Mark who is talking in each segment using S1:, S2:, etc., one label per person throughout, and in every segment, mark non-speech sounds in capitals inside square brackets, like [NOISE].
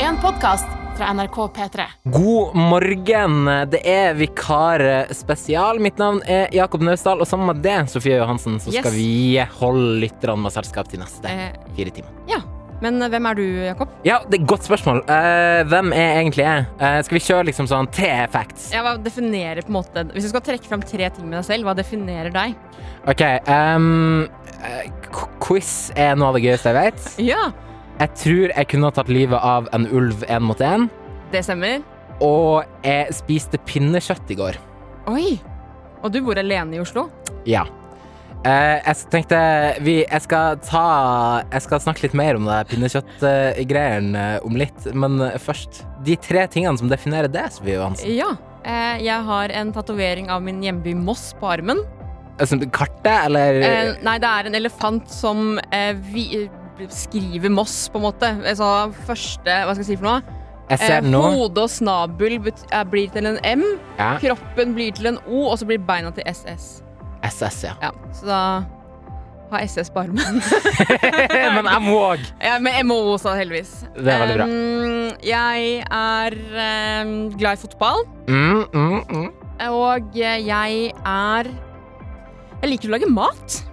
S1: en podkast fra NRK P3.
S2: God morgen. Det er vikarspesial. Mitt navn er Jakob Naustdal, og sammen med det, Sofie Johansen, så skal
S3: Yes.
S2: vi holde lytterne med selskap til neste
S3: Eh,
S2: fire timer.
S3: ja. Men eh, hvem er du, Jakob?
S2: Ja, det er et godt spørsmål. Eh, hvem er egentlig jeg? Eh, skal vi kjøre liksom sånn tre facts?
S3: Jeg var- definerer på en måte Hvis du skal trekke fram tre ting med deg selv, hva definerer deg?
S2: OK. ehm, eh, k- quiz er noe av det gøyeste jeg vet.
S3: Ja,
S2: Jeg tror jeg kunne ha tatt livet av en ulv én mot én.
S3: det stemmer.
S2: Og jeg spiste pinnekjøtt i går.
S3: Oi! Og du bor alene i Oslo?
S2: Ja. Eh, jeg s- tenkte vi, jeg, skal ta, jeg skal snakke litt mer om det pinnekjøttgreiene om litt. Men eh, først de tre tingene som definerer det, Sofie Johansen.
S3: Ja. Eh, jeg har en tatovering av min hjemby Moss på armen.
S2: Altså, kartet, eller
S3: Eh, nei, det er en elefant som eh, vi, skriver Moss, på en måte. Altså første Hva skal jeg si for noe? Eh,
S2: Jeg ser det nå.
S3: hode og snabel bet- eh, blir til en M.
S2: Ja,
S3: Kroppen blir til en O, og så blir beina til SS.
S2: SS, ja.
S3: Ja, så da har SS på
S2: [LAUGHS]
S3: armen.
S2: men jeg må òg.
S3: ja, med MO også, heldigvis.
S2: Det er veldig bra.
S3: Um, jeg er um, glad i fotball,
S2: Mm, mm, mm.
S3: og jeg er Jeg liker å lage mat.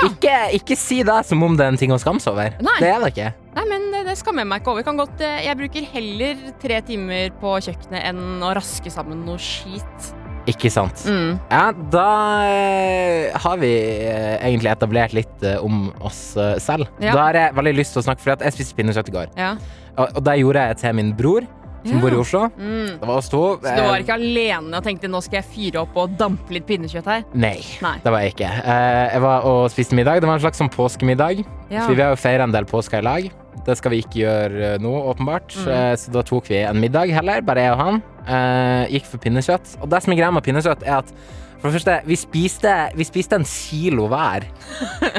S2: Ikke, ikke si det som om det er en ting å skamme seg over.
S3: Nei.
S2: Det er det ikke.
S3: Nei, men det, det skammer jeg meg ikke over. Jeg, kan godt, eh, jeg bruker heller tre timer på kjøkkenet enn å raske sammen noe skit.
S2: Ikke sant.
S3: Mm.
S2: Ja, da eh, har vi eh, egentlig etablert litt eh, om oss eh, selv.
S3: Ja.
S2: Da har jeg veldig lyst til å snakke, for jeg spiste pinnekjøtt i går.
S3: Ja.
S2: Og, og det gjorde jeg til min bror, som
S3: Ja.
S2: bor i Oslo.
S3: Mm.
S2: Det var oss to.
S3: Så du var
S2: Eh,
S3: ikke alene og tenkte nå skal jeg fyre opp og dampe litt pinnekjøtt her?
S2: Nei,
S3: Nei.
S2: det var jeg ikke. Eh, Jeg var og spiste middag. Det var en slags sånn påskemiddag.
S3: Ja.
S2: For vi har jo feira en del påsker i lag. Det skal vi ikke gjøre eh, nå, åpenbart.
S3: Mm.
S2: Eh, Så da tok vi en middag heller, bare jeg og han. Eh, Gikk for pinnekjøtt. Og det som er greia med pinnekjøtt, er at for det første, vi spiste, vi spiste en kilo
S3: [LAUGHS]
S2: hver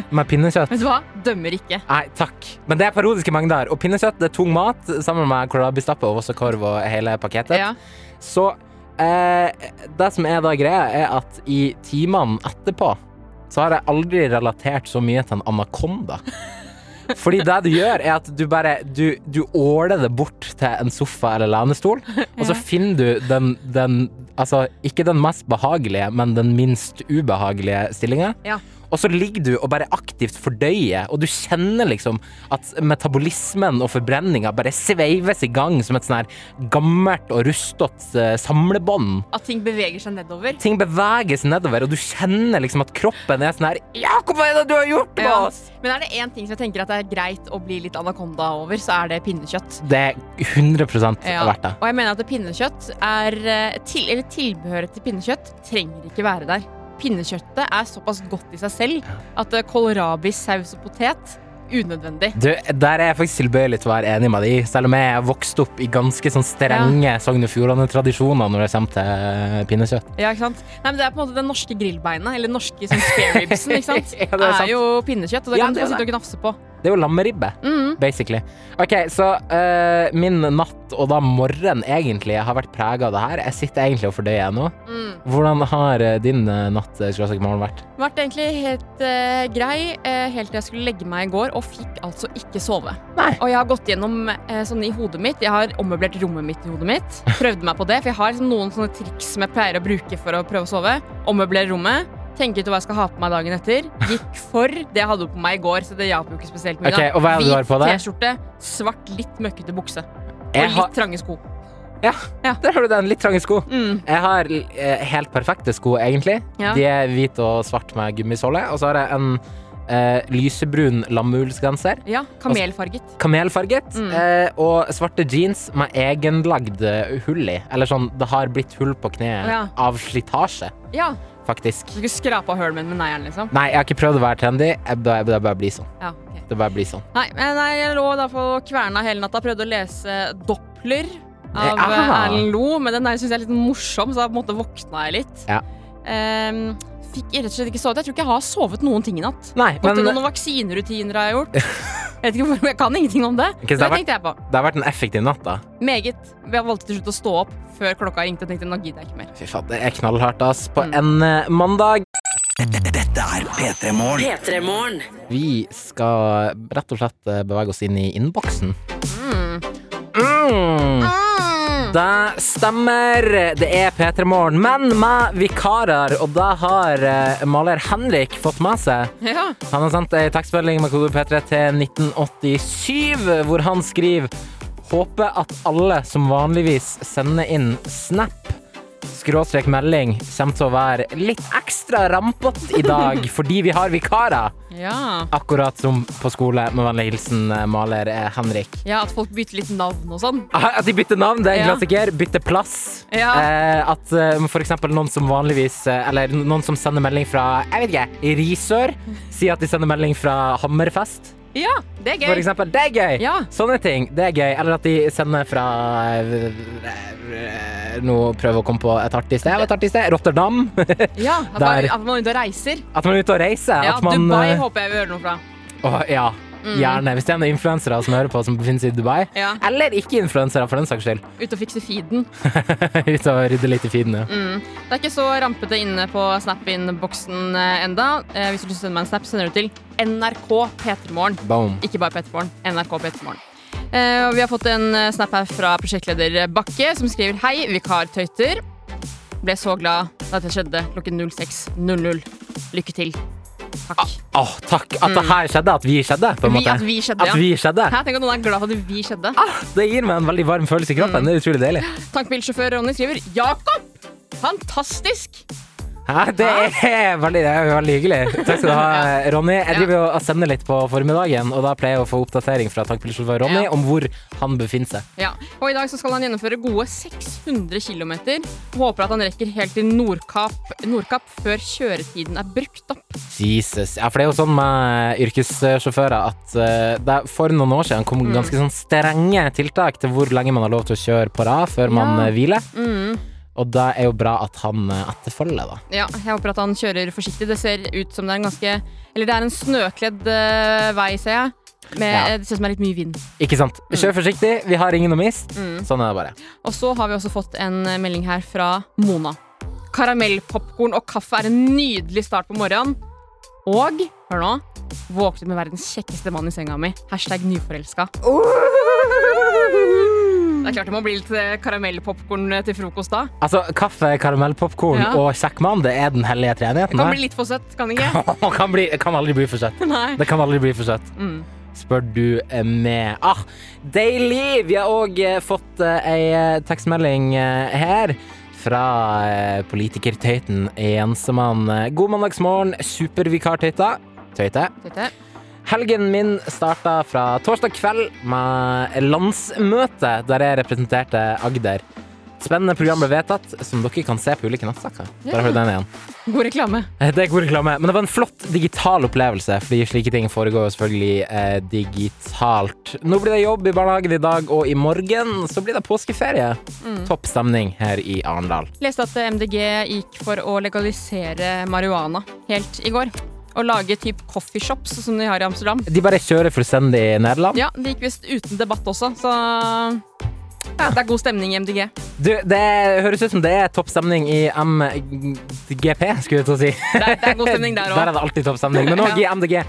S2: med pinnekjøtt.
S3: Vet du hva? Dømmer ikke.
S2: Nei, takk. Men det er parodiske mengder. Og pinnekjøtt det er tung mat, sammen med kålrabistappe og vossekorv og hele pakketet.
S3: Ja.
S2: Så eh, det som er da greia, er at i timene etterpå så har jeg aldri relatert så mye til en anakonda. Fordi det du gjør, er at du bare Du, du åler det bort til en sofa eller lenestol, og så
S3: Ja.
S2: finner du den, den Altså, ikke den mest behagelige, men den minst ubehagelige stillinga.
S3: Ja.
S2: Og så ligger du og bare aktivt fordøyer, og du kjenner liksom at metabolismen og forbrenninga bare sveives i gang som et sånn her gammelt og rustete eh, samlebånd.
S3: At ting beveger seg nedover.
S2: Ting beveges nedover, og du kjenner liksom at kroppen er sånn her Jakob, hva er det du har gjort med
S3: Ja.
S2: oss?
S3: Men er det én ting som jeg tenker at det er greit å bli litt anakonda over, så er det pinnekjøtt.
S2: Det er 100
S3: Ja.
S2: verdt det.
S3: Og jeg mener at pinnekjøtt er eh, til, Eller tilbehøret til pinnekjøtt trenger ikke være der. Pinnekjøttet er såpass godt i seg selv at eh, kålrabi, saus og potet unødvendig.
S2: Du, der er jeg faktisk tilbøyelig til å være enig med deg, selv om jeg er vokst opp i ganske sånn strenge Sogn og Fjordane-tradisjoner når det kommer til eh, pinnekjøtt.
S3: Ja, ikke sant? Nei, men Det er på en måte det norske grillbeinet, eller den norske sånn spareribsen, ikke sant?
S2: [LAUGHS] Ja, det er
S3: er,
S2: sant.
S3: jo pinnekjøtt, og det
S2: Ja,
S3: kan du
S2: det er
S3: bare sitte og gnafse på.
S2: Det er jo lammeribbe.
S3: Mm.
S2: basically. Ok, så eh, min natt og da morgen egentlig har vært preget av det her. Jeg sitter egentlig og fordøyer nå.
S3: Mm.
S2: Hvordan har eh, din eh, natt eh, skråstrek morgen vært?
S3: Vært egentlig helt eh, grei eh, helt til jeg skulle legge meg i går, og fikk altså ikke sove.
S2: Nei.
S3: Og jeg har gått gjennom eh, sånn i hodet mitt. Jeg har ommøblert rommet mitt i hodet mitt. Prøvde meg på det, for jeg har liksom noen sånne triks som jeg pleier å bruke for å prøve å sove. Ommøblere rommet. Tenke ut hva jeg skal ha på meg dagen etter. Gikk for det jeg hadde på meg i går, så det hjalp jo ikke spesielt mye. da.
S2: Ok, og hva er det du har på deg?
S3: Hvit T-skjorte, svart, litt møkkete bukse. Og
S2: Jeg
S3: litt
S2: har,
S3: trange sko.
S2: der har du den, litt trange sko.
S3: Mm,
S2: Jeg har eh, helt perfekte sko, egentlig.
S3: ja.
S2: De er hvit og svart med gummisåle. Og så har jeg en eh, lysebrun lammullsgenser,
S3: ja, kamelfarget.
S2: kamelfarget,
S3: Mm.
S2: eh, og svarte jeans med egenlagd eh, hull i. Eller sånn, det har blitt hull på kneet
S3: Ja.
S2: av slitasje,
S3: Ja,
S2: faktisk.
S3: du skulle skrape av hølen min med neieren, liksom.
S2: Nei, jeg har ikke prøvd å være trendy. Jeg, det, det bare blir sånn.
S3: Ja, ok.
S2: Det bare blir sånn.
S3: Nei, men nei, jeg lå da på kverna hele natta prøvde å lese Doppler av
S2: Eh,
S3: eh,
S2: ah.
S3: Erlend Lo, men den der synes jeg er litt morsom, så da på en måte våkna jeg litt.
S2: Ja.
S3: Ehm, fikk rett og slett ikke sovet. Jeg tror ikke jeg har sovet noen ting i natt.
S2: Nei,
S3: Gått
S2: men
S3: gjennom noen vaksinerutiner har jeg
S2: [LAUGHS]
S3: gjort. Jeg vet ikke hvorfor, jeg kan ingenting om det.
S2: så det
S3: Men det
S2: har
S3: tenkte jeg på.
S2: det har vært en effektiv natt, da.
S3: Meget. Jeg valgte til slutt å stå opp før klokka ringte og tenkte nå gidder jeg ikke mer.
S2: Fy faen, det er knallhardt, ass. På en eh, mandag. Vi skal rett og slett eh, bevege oss inn i innboksen. Mm. Det stemmer. Det er P3 Morgen, men med vikarer. Og da har eh, maler Henrik fått med seg.
S3: Ja.
S2: Han har sendt ei tekstmelding med kode P3 til 1987, hvor han skriver Håper at alle som vanligvis sender inn snap skråstrek melding, kommer til å være litt ekstra rampete i
S3: [LAUGHS]
S2: dag fordi vi har vikarer.
S3: Ja.
S2: Akkurat som på skole. Med vennlig hilsen eh, maler eh, Henrik.
S3: ja, at folk bytter litt navn og sånn.
S2: Ah, At de bytter navn, det er en
S3: Ja.
S2: klassiker. Bytter plass.
S3: Ja.
S2: Eh, at eh, for eksempel noen som vanligvis eh, Eller noen som sender melding fra Jeg vet ikke,
S3: [LAUGHS]
S2: Risør, sier at de sender melding fra Hammerfest.
S3: Ja, det er
S2: For
S3: gøy.
S2: eksempel. Det er gøy!
S3: Ja.
S2: Sånne ting. Det er gøy. Eller at de sender fra eh, Nå prøver jeg å komme på et artig sted. Et artig sted. Rotterdam. [LAUGHS] at
S3: Ja, at, man,
S2: Der.
S3: at man er ute og reiser.
S2: man er ute og reiser.
S3: Ja,
S2: at man,
S3: Dubai
S2: eh,
S3: håper jeg vi hører noe fra.
S2: Åh, ja. Gjerne. Hvis det er noen influensere som hører på, som befinner seg i Dubai.
S3: Ja.
S2: Eller ikke influensere, for den saks skyld. [LAUGHS]
S3: Ute og fikse feeden.
S2: Ut og rydde litt i feeden, ja.
S3: Mm. Det er ikke så rampete inne på Snap-in-boksen eh, enda. Eh, hvis du vil sende meg en snap, sender du til NRK P3morgen.
S2: Boom.
S3: Ikke bare P3morgen. NRK P3morgen. Eh, og vi har fått en eh, snap her fra prosjektleder Bakke, som skriver Hei, vikartøyter. Ble så glad da dette skjedde klokken 06.00. Lykke til. Takk.
S2: Åh, takk. At det her skjedde. At vi skjedde, på en
S3: Mm. Vi,
S2: måte.
S3: at vi skjedde,
S2: At
S3: ja.
S2: vi skjedde.
S3: Hæ, tenk at noen er glad for at vi skjedde.
S2: Det gir meg en veldig varm følelse i
S3: Mm.
S2: kroppen. Det er utrolig deilig.
S3: Tankbilsjåfør Ronny skriver Jakob! Fantastisk!
S2: Hæ? Det er veldig, det er veldig hyggelig. Takk skal du ha, Ronny. Jeg driver jo og sender litt på formiddagen, og da pleier jeg å få oppdatering fra tankbilsjåfør Ronny
S3: Ja.
S2: om hvor han befinner seg.
S3: Ja, og I dag så skal han gjennomføre gode 600 km. Håper at han rekker helt til Nordkapp, Nordkapp før kjøretiden er brukt opp.
S2: Jesus. Ja, for det er jo sånn med yrkessjåfører at eh, det er for noen år siden
S3: Mm.
S2: kom ganske sånn strenge tiltak til hvor lenge man har lov til å kjøre på rad før
S3: Ja.
S2: man
S3: Mm.
S2: eh, hviler. Og det er jo bra at han eh, etterfølger, da.
S3: Ja, Jeg håper at han kjører forsiktig. Det ser ut som det er en ganske Eller det er en snøkledd eh, vei, ser jeg. Med,
S2: Ja.
S3: Det ser ut som det er litt mye vind.
S2: Ikke sant? Kjør
S3: Mm.
S2: forsiktig, vi har ingen å miste. Sånn er det bare.
S3: Og så har vi også fått en eh, melding her fra Mona. Karamellpopkorn og kaffe er en nydelig start på morgenen. Og hør nå våknet med verdens kjekkeste mann i senga mi. Hashtag nyforelska. Det er klart det må bli litt eh, karamellpopkorn eh, til frokost da.
S2: Altså, kaffe, karamell, popkorn
S3: Ja.
S2: og kjekkmann, det er den hellige treenigheten.
S3: Kan
S2: her. [LAUGHS]
S3: bli litt for søtt, kan det ikke?
S2: kan, bli, kan aldri bli for søtt.
S3: [LAUGHS] Nei.
S2: Det kan aldri bli for søtt.
S3: Mm.
S2: Spør du eh, meg. Ah, deilig! Vi har òg fått eh, ei eh, tekstmelding eh, her. Fra eh, politikertøyten Jensemann. God mandagsmorgen, supervikartøyta. Tøyte.
S3: Dette.
S2: Helgen min starta fra torsdag kveld med landsmøte, der jeg representerte Agder. Et Spennende program ble vedtatt, som dere kan se på ulike nettsaker. Der har du den igjen. Eh,
S3: God reklame.
S2: Det er god reklame, men det var en flott digital opplevelse, fordi slike ting foregår jo selvfølgelig eh, digitalt. Nå blir det jobb i barnehagen i dag, og i morgen så blir det påskeferie. Topp stemning her i Arendal.
S3: Leste at eh, MDG gikk for å legalisere marihuana helt i går. Og lage typ coffeeshops som de har i Amsterdam.
S2: De bare kjører fullstendig i Nederland.
S3: Ja, det gikk visst uten debatt også, så ja, det er god stemning i MDG.
S2: Du, det høres ut som det er topp stemning i MGP, skulle jeg til å si.
S3: Det er,
S2: [LAUGHS]
S3: det er god stemning der
S2: Der
S3: òg.
S2: er det alltid topp stemning,
S3: [LAUGHS]
S2: men òg i MDG.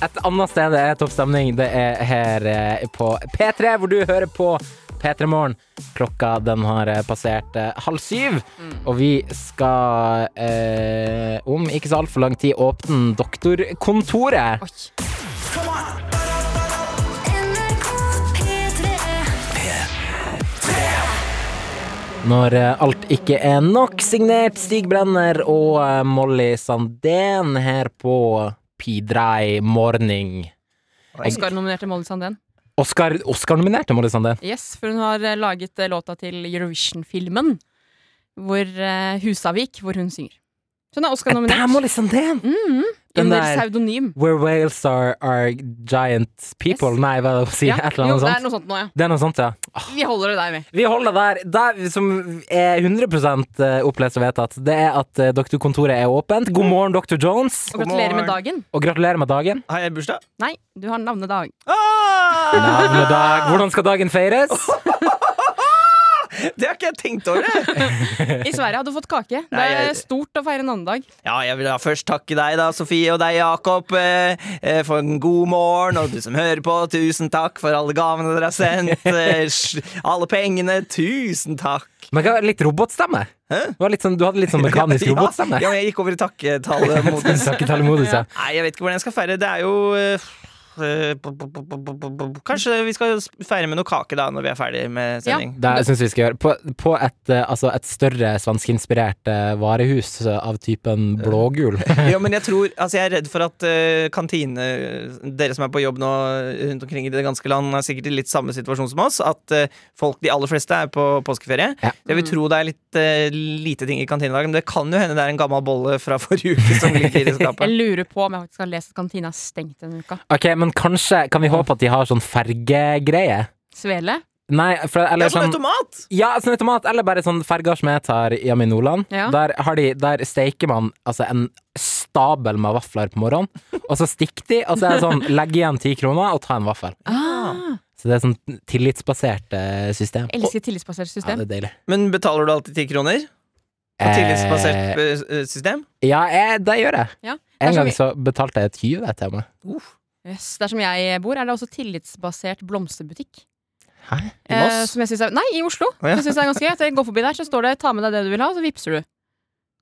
S2: Et annet sted det er topp stemning, det er her eh, på P3, hvor du hører på P3 Morgen. Klokka den har eh, passert eh, halv syv,
S3: Mm.
S2: og vi skal eh, om ikke så altfor lang tid åpne Doktorkontoret. Når eh, alt ikke er nok, signert Stig Brenner og eh, Molly Sandén her på Pidrei Morning.
S3: Oscar nominerte Molly Sandén.
S2: Oscar- Oscar-nominerte Molly Sandén.
S3: Yes, for hun har eh, laget eh, låta til Eurovision-filmen, hvor eh, Husavik, hvor hun synger. Så hun er
S2: Eh, Det er
S3: Oscar-nominert
S2: Molly Sandén!
S3: Mm.
S2: den
S3: under
S2: der-
S3: pseudonym.
S2: Where whales are, are giant people.
S3: Yes.
S2: Nei, hva er det å si?
S3: Ja,
S2: Et eller annet
S3: jo, det er
S2: sånt.
S3: noe sånt nå, ja.
S2: Det er noe sånt, ja. Ah,
S3: Vi holder det der med.
S2: Vi holder der. Det som er 100 opplest og vedtatt, det er at eh, doktorkontoret er åpent. God morgen, doktor Jones.
S3: Og gratulerer med dagen.
S2: Og gratulerer med dagen.
S4: Har jeg bursdag?
S3: Nei, du har navnedag.
S4: Ah! [LAUGHS]
S2: Navnedag. Hvordan skal dagen feires?
S4: Det har ikke jeg tenkt over. jeg.
S3: I Sverige hadde du fått kake.
S2: [LAUGHS]
S3: Det
S4: Nei,
S3: er
S4: jeg-
S3: stort å feire en annen dag.
S4: Ja, jeg vil da først takke deg, da, Sofie, og deg, Jakob, eh, eh, for en god morgen. Og du som hører på, tusen takk for alle gavene dere har sendt. eh, sj- Alle pengene, tusen takk.
S2: Men hva, litt robotstemme?
S4: Hæ?
S2: Det var litt sånn, du hadde litt sånn mekanisk
S4: [LAUGHS] ja,
S2: robotstemme.
S4: ja, men jeg gikk over i takketallet. mot-
S2: Du skal ikke tale imot det, sa jeg.
S4: Nei, jeg vet ikke hvordan jeg skal feire. Det er jo eh, eh, bo- bo- bo- bo- bo- bo- bo- Kanskje vi skal sp- feire med noe kake da når vi er ferdig med
S3: Ja.
S4: sending.
S2: Det syns vi skal gjøre. På, på et, eh, altså et større svenskinspirert eh, varehus eh, av typen blågul.
S4: Ja, men jeg tror Altså, jeg er redd for at eh, kantine Dere som er på jobb nå eh, rundt omkring i det ganske land, er sikkert i litt samme situasjon som oss. At eh, folk, de aller fleste, er på påskeferie.
S2: Ja.
S4: Jeg vil tro det er litt eh, lite ting i kantina i dag, men det kan jo hende det er en gammel bolle fra forrige uke som ligger i
S3: [LAUGHS] Jeg
S4: skapet.
S3: lurer på om jeg faktisk har lest at kantina er stengt denne uka.
S2: Ok, men kanskje Kan vi håpe at de har sånn fergegreie?
S3: Svele?
S2: Nei, for,
S4: Det
S2: eller
S4: er sånn
S2: sånn
S4: automat!
S2: ja, sånn automat, eller bare sånn ferger som jeg tar hjemme i Nordland.
S3: Ja.
S2: Der, har de, der steiker man altså en stabel med vafler på morgenen, og så stikker de, og så er det sånn legg igjen ti kroner og ta en vaffel.
S3: Ah,
S2: Så det er sånn tillitsbasert eh, system.
S3: elsker tillitsbasert
S2: Ja,
S3: system.
S2: det er deilig.
S4: Men betaler du alltid ti kroner? På
S2: Eh,
S4: tillitsbasert eh, system?
S2: Ja, jeg, det gjør jeg.
S3: Ja, det er
S2: En
S3: som
S2: gang
S3: vi-
S2: så betalte jeg 20 til meg.
S3: Yes. Der som jeg bor, er det også tillitsbasert blomsterbutikk.
S2: Hæ?
S4: I
S3: Eh,
S4: Moss?
S3: som jeg synes er, nei, i Oslo.
S4: Å, ja.
S3: Jeg synes det er ganske gøy. at Jeg går forbi der, så står det 'ta med deg det du vil ha', og så vipser du.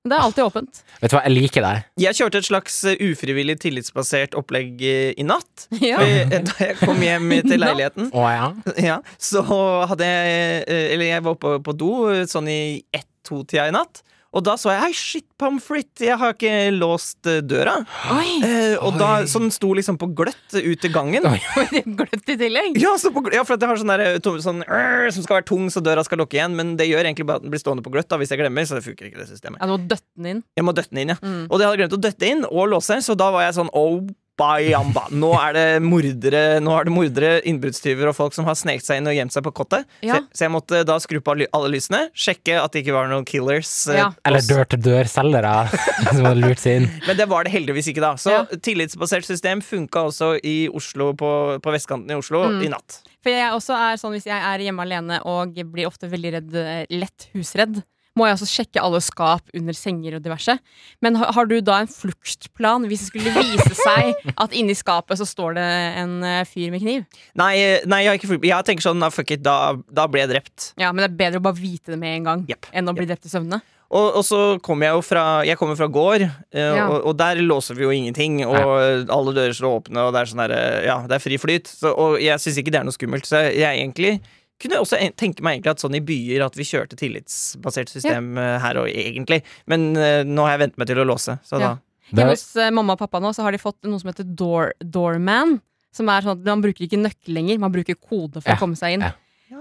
S3: Det er alltid åpent.
S2: Vet du hva, jeg liker deg.
S4: Jeg kjørte et slags eh, ufrivillig tillitsbasert opplegg eh, i natt.
S3: Ja.
S4: Eh, Da jeg kom hjem
S3: [LAUGHS] I
S4: til
S3: natt?
S4: leiligheten,
S2: Å ja.
S4: [LAUGHS] ja, så hadde jeg eh, Eller jeg var oppe på do eh, sånn i ett-to-tida i natt. Og da så jeg Hei, shit, pomfrit, jeg har ikke låst eh, døra.
S3: Oi! [LAUGHS]
S4: Eh, og da,
S2: Oi.
S4: så den sto liksom på gløtt ut i gangen.
S2: Oi.
S3: Gløtt i tillegg.
S4: Ja, så på, gl- ja, for at jeg har sånn, der, eh, tom- sånn øh, som skal være tung, så døra skal lukke igjen. Men det gjør egentlig bare at den blir stående på gløtt da, hvis jeg glemmer. Så det funker ikke, det systemet.
S3: Ja, du må døtte den inn.
S4: Jeg må døtte den inn, ja.
S3: Mm.
S4: Og de hadde glemt å døtte inn og låse, så da var jeg sånn oh, Bayamba. Nå er det mordere, Nå er det mordere, innbruddstyver og folk som har sneket seg inn og gjemt seg på kottet.
S3: Ja.
S4: Så, så jeg måtte da skru på alle ly- alle lysene, sjekke at det ikke var noen killers. eh,
S3: Ja.
S2: Eller
S4: oss.
S2: dør-til-dør-selgere [LAUGHS] som hadde lurt seg inn.
S4: Men det var det heldigvis ikke, da. Så
S3: Ja.
S4: tillitsbasert system funka også i Oslo på, på vestkanten i Oslo
S3: Mm.
S4: i natt.
S3: For jeg også er sånn hvis jeg er hjemme alene og blir ofte veldig redd, eh, lett husredd, må jeg også sjekke alle skap under senger og diverse. Men har, har du da en fluktplan hvis det skulle vise [LAUGHS] seg at inni skapet så står det en eh, fyr med kniv?
S4: Nei, eh, nei jeg, har ikke, fulgt- jeg tenker sånn ah, fuck it, da, da ble jeg drept.
S3: Ja, men det er bedre å bare vite det med en gang
S4: Jepp.
S3: enn å bli drept i søvne.
S4: Og, og så kommer jeg jo fra Jeg kommer fra gård, eh,
S3: Ja.
S4: og, og der låser vi jo ingenting. Og alle dører står åpne, og det er sånn der, eh, ja, det er fri flyt. Så, og jeg syns ikke det er noe skummelt. Så jeg, jeg egentlig kunne også en- tenke meg egentlig at sånn i byer at vi kjørte tillitsbasert system eh, her og egentlig. Men eh, nå har jeg vent meg til å låse,
S3: Ja.
S4: så da
S2: Det
S3: Hjemme
S2: er,
S3: hos eh, mamma og pappa nå så har de fått noe som heter door, doorman. Som er sånn at Man bruker ikke nøkkel lenger, man bruker kode for
S2: Ja,
S3: å komme seg inn.
S2: ja.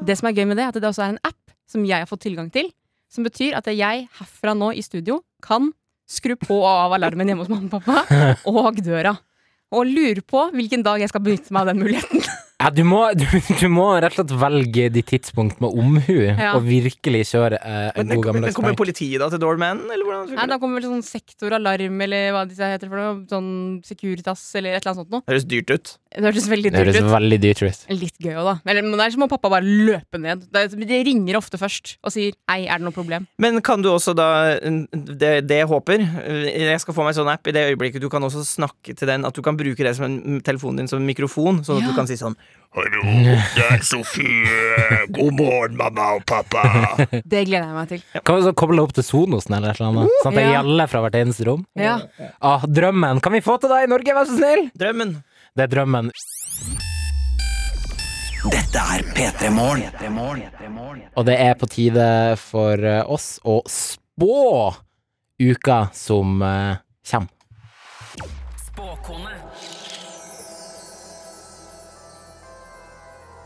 S3: Det som er gøy med det, er at det også er en app som jeg har fått tilgang til. Som betyr at jeg herfra nå i studio kan skru på og av alarmen hjemme hos mamma og
S2: [LAUGHS]
S3: pappa, og døra. Og lurer på hvilken dag jeg skal benytte meg av den
S2: [LAUGHS]
S3: muligheten.
S2: ja, du, må, du, du må rett og slett velge ditt tidspunkt med omhu,
S3: Ja.
S2: og virkelig kjøre eh, en god
S4: Men, men, men
S2: gammeldags
S4: kommer
S2: vei.
S4: politiet da til doorman, eller hvordan
S3: Nei,
S4: funker det?
S3: da kommer vel sånn sektoralarm eller hva disse heter for noe. Sånn Securitas eller et eller annet sånt noe.
S4: Det høres dyrt ut.
S3: Det hørtes veldig
S2: Det
S3: dyrt
S2: høres
S3: ut.
S2: veldig dyrt ut.
S3: Litt gøy òg, da. Eller, men der så må pappa bare løpe ned. Det, de ringer ofte først og sier 'ei, er det noe problem?'
S4: Men kan du også da Det, det jeg håper Jeg skal få meg en sånn app i det øyeblikket Du kan også snakke til den At du kan bruke det som en, telefonen din som en mikrofon Sånn at
S3: Ja.
S4: du kan si sånn
S5: Hallo, det er Sofie. God morgen, mamma og pappa.
S3: Det gleder jeg meg til.
S2: Kan vi så koble opp til Sonosen eller et eller annet? Sånn at det
S3: Ja.
S2: gjelder fra hvert eneste rom?
S3: Ja.
S2: Ah, drømmen! Kan vi få til deg i Norge, vær så snill?
S4: Drømmen
S2: Det er drømmen.
S5: Dette er P3 Morgen.
S2: Og det er på tide for eh, oss å spå uka som eh, kommer.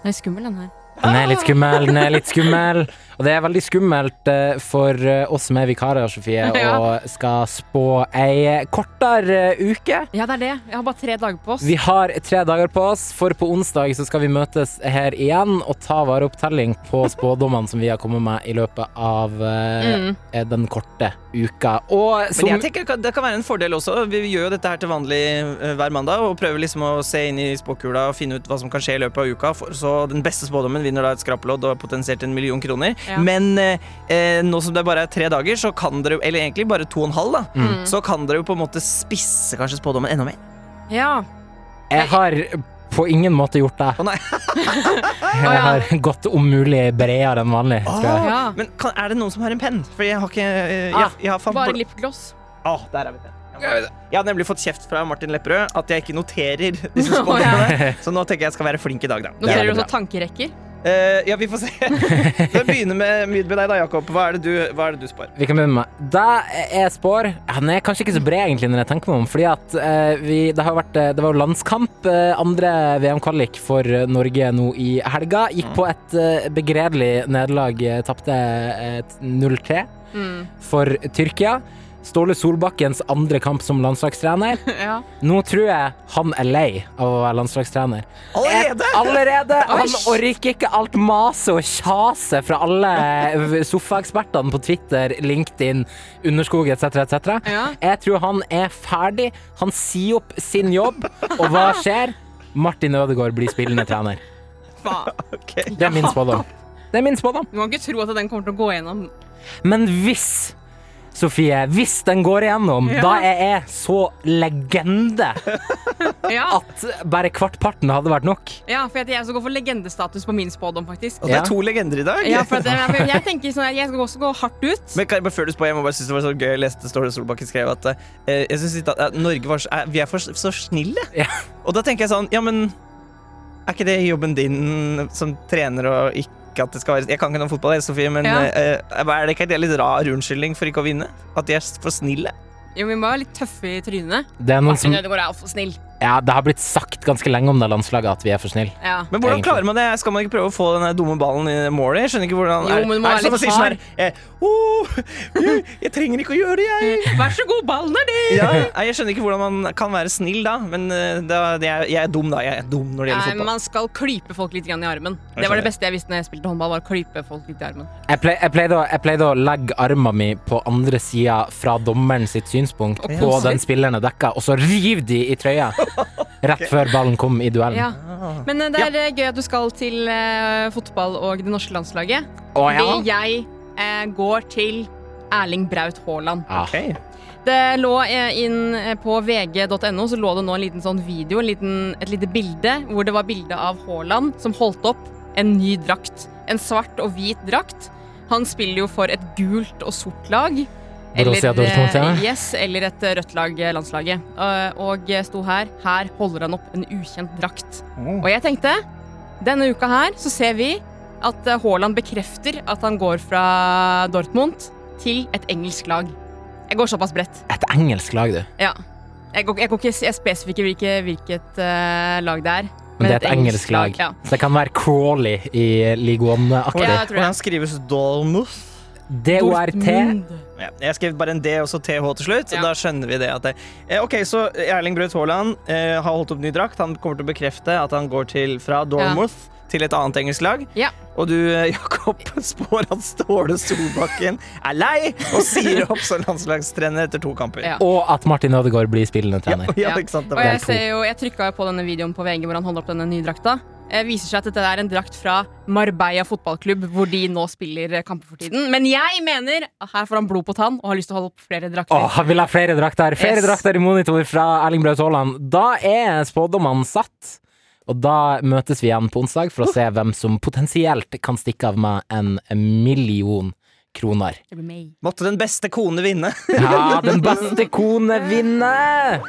S3: Den er skummel, den her.
S2: Den er litt skummel, den er litt skummel. Og det er veldig skummelt eh, for eh, oss som er vikarer,
S4: [LAUGHS]
S2: Sofie,
S3: Ja.
S2: og skal spå ei kortere eh, uke.
S3: Ja, det er det. Jeg har bare tre dager på oss.
S2: Vi har tre dager på oss, for på onsdag så skal vi møtes her igjen og ta vare opptelling på spådommene som vi har kommet med i løpet av eh,
S3: Mm.
S2: eh, den korte uka. Og
S4: Men
S2: som
S4: jeg tenker det kan være en fordel også Vi gjør jo dette her til vanlig eh, hver mandag Og prøver liksom å se inn i spåkula Og finne ut hva som kan skje i løpet av uka for, Så den beste spådommen forsvinner da et skrapelodd og potensielt en million kroner.
S3: Ja.
S4: Men eh, eh, nå som det bare er tre dager, så kan dere jo- Eller egentlig bare to og en halv, da.
S3: Mm.
S4: Så kan dere jo på en måte spisse kanskje spådommen enda mer.
S3: Ja.
S2: Jeg har på ingen måte gjort det.
S4: Å, nei.
S2: Jeg har gått om mulig bredere enn vanlig. Tror jeg.
S3: ja.
S4: Men kan, er det noen som har en penn? For jeg har ikke eh,
S3: Ah,
S4: jeg, jeg har fan-
S3: Bare lipgloss.
S4: Ah, der er vi det. Jeg har nemlig fått kjeft fra Martin Lepperød at jeg ikke noterer disse
S3: [LAUGHS] Å,
S4: spådommene. Så nå tenker jeg jeg skal være flink i dag, da.
S2: er
S3: Noterer du
S2: bra.
S3: også tankerekker? [LAUGHS]
S4: Eh, ja, vi får se. [LAUGHS] Da begynner med, med deg, da, Jakob. Hva er det du, hva er det du spår?
S2: Vi kan begynne med Da jeg spår Han er kanskje ikke så bred, egentlig, når jeg tenker meg om. Fordi at eh, vi, det, har vært, eh, det var jo landskamp. eh, andre VM-kvalik for eh, Norge nå i helga. Gikk på et eh, begredelig nederlag. eh, Tapte eh, 0-3
S3: Mm.
S2: for Tyrkia. Ståle Solbakkens andre kamp som landslagstrener.
S3: Ja.
S2: Nå tror jeg han er lei av å være landslagstrener.
S4: Allerede?
S2: Et- Allerede! Han
S3: Oish.
S2: orker ikke alt maset og kjaset fra alle sofaekspertene på Twitter, LinkedIn, Underskog etc. etc.
S3: Ja.
S2: Jeg tror han er ferdig. Han sier opp sin jobb, og hva skjer? Martin Ødegaard blir spillende trener.
S3: Faen.
S4: Ok.
S2: Det er min spådom. Det er min spådom.
S3: Du kan ikke tro at den kommer til å gå gjennom.
S2: Men hvis Sofie, hvis den går igjennom,
S3: Ja.
S2: da er jeg så legende
S3: Ja,
S2: at bare kvartparten hadde vært nok.
S3: ja for jeg, jeg skal gå for legendestatus på min spådom, faktisk.
S4: Og det
S2: Ja.
S4: er to legender i dag.
S3: Ja, for at, jeg, jeg tenker sånn at jeg skal også gå hardt ut.
S4: [LAUGHS] Men kan jeg bare før du spår, jeg må bare synes det var så gøy Jeg leste Ståle Solbakken skrev at eh, Jeg synes ikke at at Norge var så, er, Vi er for, så snille
S2: Ja.
S4: Og da tenker jeg sånn, ja men Er ikke det jobben din som trener Og ikke at det skal være Jeg kan ikke noen fotball, jeg, Sofie Men
S3: Ja.
S4: eh, eh, er det ikke en litt rar unnskyldning for ikke å vinne? At de er s- for snille?
S3: Jo, vi må være litt tøffe i trynet.
S2: Det, er noen som,
S3: Martin Ødegaard er altfor snill.
S2: ja, det har blitt sagt ganske lenge om det landslaget at vi er for snille.
S3: Ja.
S4: Men hvordan
S2: Egentlig.
S4: klarer man det? Skal man ikke prøve å få den der dumme ballen i målet? Jeg skjønner ikke hvordan
S3: Jo,
S4: er,
S3: men du må
S4: er det
S3: være
S4: sånn
S3: litt
S4: å si sånn her eh, «Åh, jeg, jeg trenger ikke å gjøre det, jeg
S3: Vær så god, ballen er din!
S4: Ja, [LAUGHS] nei, jeg skjønner ikke hvordan man kan være snill da, men eh, da, det er, jeg er dum da. Jeg er dum når det gjelder
S3: Nei,
S4: fotball.
S3: man skal klype folk litt grann i armen. Det var
S4: Jeg skjønner.
S3: det beste jeg visste når jeg spilte håndball. var å klype folk litt i armen.
S2: Jeg, plei, jeg, pleide å, jeg pleide å legge armen min på andre sida fra dommeren sitt
S3: Og
S2: synspunkt på
S3: kose
S2: den
S3: litt.
S2: spilleren jeg dekka, og så riv de i trøya rett før ballen kom i
S4: Mm.
S2: duellen.
S3: Ja.
S4: Ah,
S3: Men eh, det er eh, gøy at du skal til eh, fotball og det norske landslaget.
S2: Å ja.
S3: Fordi jeg eh, går til Erling Braut Haaland.
S2: Ja.
S4: Ok.
S3: Det lå eh, inn eh, på vg.no så lå det nå en liten sånn video, en liten, et lite bilde, hvor det var bilde av Haaland som holdt opp en ny drakt. En svart og hvit drakt. Han spiller jo for et gult og sort lag.
S2: Borussia Dortmund, ja.
S3: eh, yes, eller et eh, rødt lag, eh, landslaget. Eh, Og eh, sto her. Her holder han opp en ukjent drakt.
S2: Mm.
S3: Og jeg tenkte, denne uka her så ser vi at eh, Haaland bekrefter at han går fra Dortmund til et engelsk lag. Jeg går såpass bredt.
S2: Et engelsk lag, du.
S3: Ja. Jeg går, jeg går ikke jeg spesifikke hvilke, hvilket eh, lag det er.
S2: Men det er et engelsk lag.
S3: Ja.
S2: Så det kan være Crawley i League
S3: Ja, jeg
S2: One-aktig.
S3: tror
S4: Hvordan
S3: det.
S4: skrives Dolmuth?
S2: DORT.
S4: Ja, jeg skrev bare en D og så TH til slutt.
S3: Ja.
S4: Da skjønner vi det. At det eh, ok, så Erling Braut Haaland eh, har holdt opp ny drakt. Han kommer til å bekrefte at han går til, fra Dormouth til et annet engelsk lag.
S3: Ja.
S4: Og du, eh, Jakob, [LAUGHS] spår at Ståle Solbakken er lei og sier opp som landslagstrener etter to kamper.
S3: Ja.
S2: Og at Martin Ødegaard blir spillende trener.
S4: Ja,
S3: Ja.
S4: ikke sant? Det
S3: Og
S4: var
S3: jeg,
S4: helt
S3: ser jo, jeg trykka jo på denne videoen på VG hvor han holder opp denne nye drakta. Det viser seg at dette er en drakt fra Marbella fotballklubb, hvor de nå spiller eh, kamper for tiden. Men jeg mener at her får han blod på tann og har lyst til å holde opp flere
S2: Å,
S3: drakter.
S2: han vil ha flere drakter! Flere
S3: Yes.
S2: drakter i monitor fra Erling Braut Haaland. Da er spådommene satt, og da møtes vi igjen på onsdag for å se hvem som potensielt kan stikke av med en million kroner.
S3: Det blir meg.
S4: Måtte den beste kone vinne. [LAUGHS]
S2: Ja, den beste kone vinner!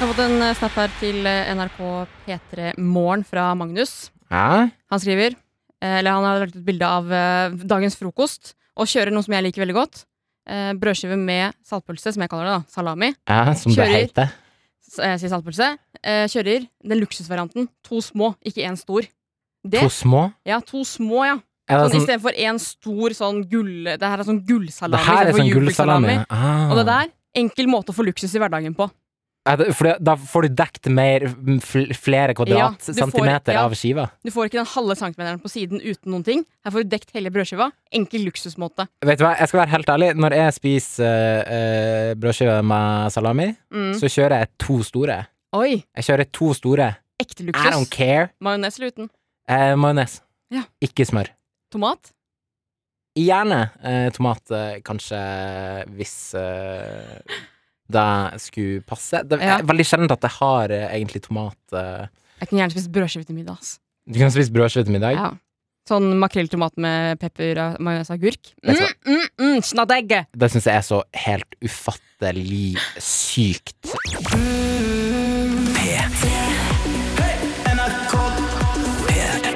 S3: Jeg har fått en eh, snap her til eh, NRK P3 Morgen fra Magnus.
S2: Hæ?
S3: Han skriver eh, Eller han har lagt ut bilde av eh, dagens frokost og kjører noe som jeg liker veldig godt. Eh, brødskive med saltpølse, som jeg kaller det. da, Salami.
S2: Ja, som det
S3: Kjører.
S2: heter.
S3: S jeg sier saltpølse. Eh, kjører den luksusvarianten. To små, ikke én stor. Det,
S2: To små.
S3: ja, to små, ja.
S2: Er
S3: Sånn,
S2: det sånn,
S3: Istedenfor én stor sånn gull... Det her er sånn gullsalami.
S2: det her er
S3: istedenfor
S2: sånn
S3: jubelsalami.
S2: gullsalami. Ah.
S3: Og det der, enkel måte å få luksus i hverdagen på.
S2: Er det- For det- da får du dekt mer, fl- flere
S3: får-
S2: kvadratcentimeter
S3: ja.
S2: av skiva.
S3: Du får ikke den halve centimeteren på siden uten noen ting. Her får du dekt hele brødskiva. Enkel luksusmåte.
S2: Vet du hva, jeg skal være helt ærlig. Når jeg spiser eh, eh, brødskive med salami,
S3: Mm.
S2: så kjører jeg to store.
S3: Oi!
S2: Jeg kjører to store
S3: Ekte
S2: I don't
S3: luksus.
S2: care.
S3: Majones eller uten?
S2: Eh, Majones.
S3: Ja.
S2: Ikke smør.
S3: Tomat?
S2: Gjerne eh, tomat, eh, kanskje, hvis eh, det skulle passe. Det
S3: Ja.
S2: er veldig sjelden at jeg har eh, egentlig tomat eh.
S3: Jeg kunne gjerne spist brødskive til middag. ass.
S2: Du kan spise brødskive til middag.
S3: Ja. Sånn makrelltomat med pepper og majones og agurk.
S2: Vet du
S3: Mm, mm, mm, Snadegg!
S2: Det syns jeg er så helt ufattelig sykt.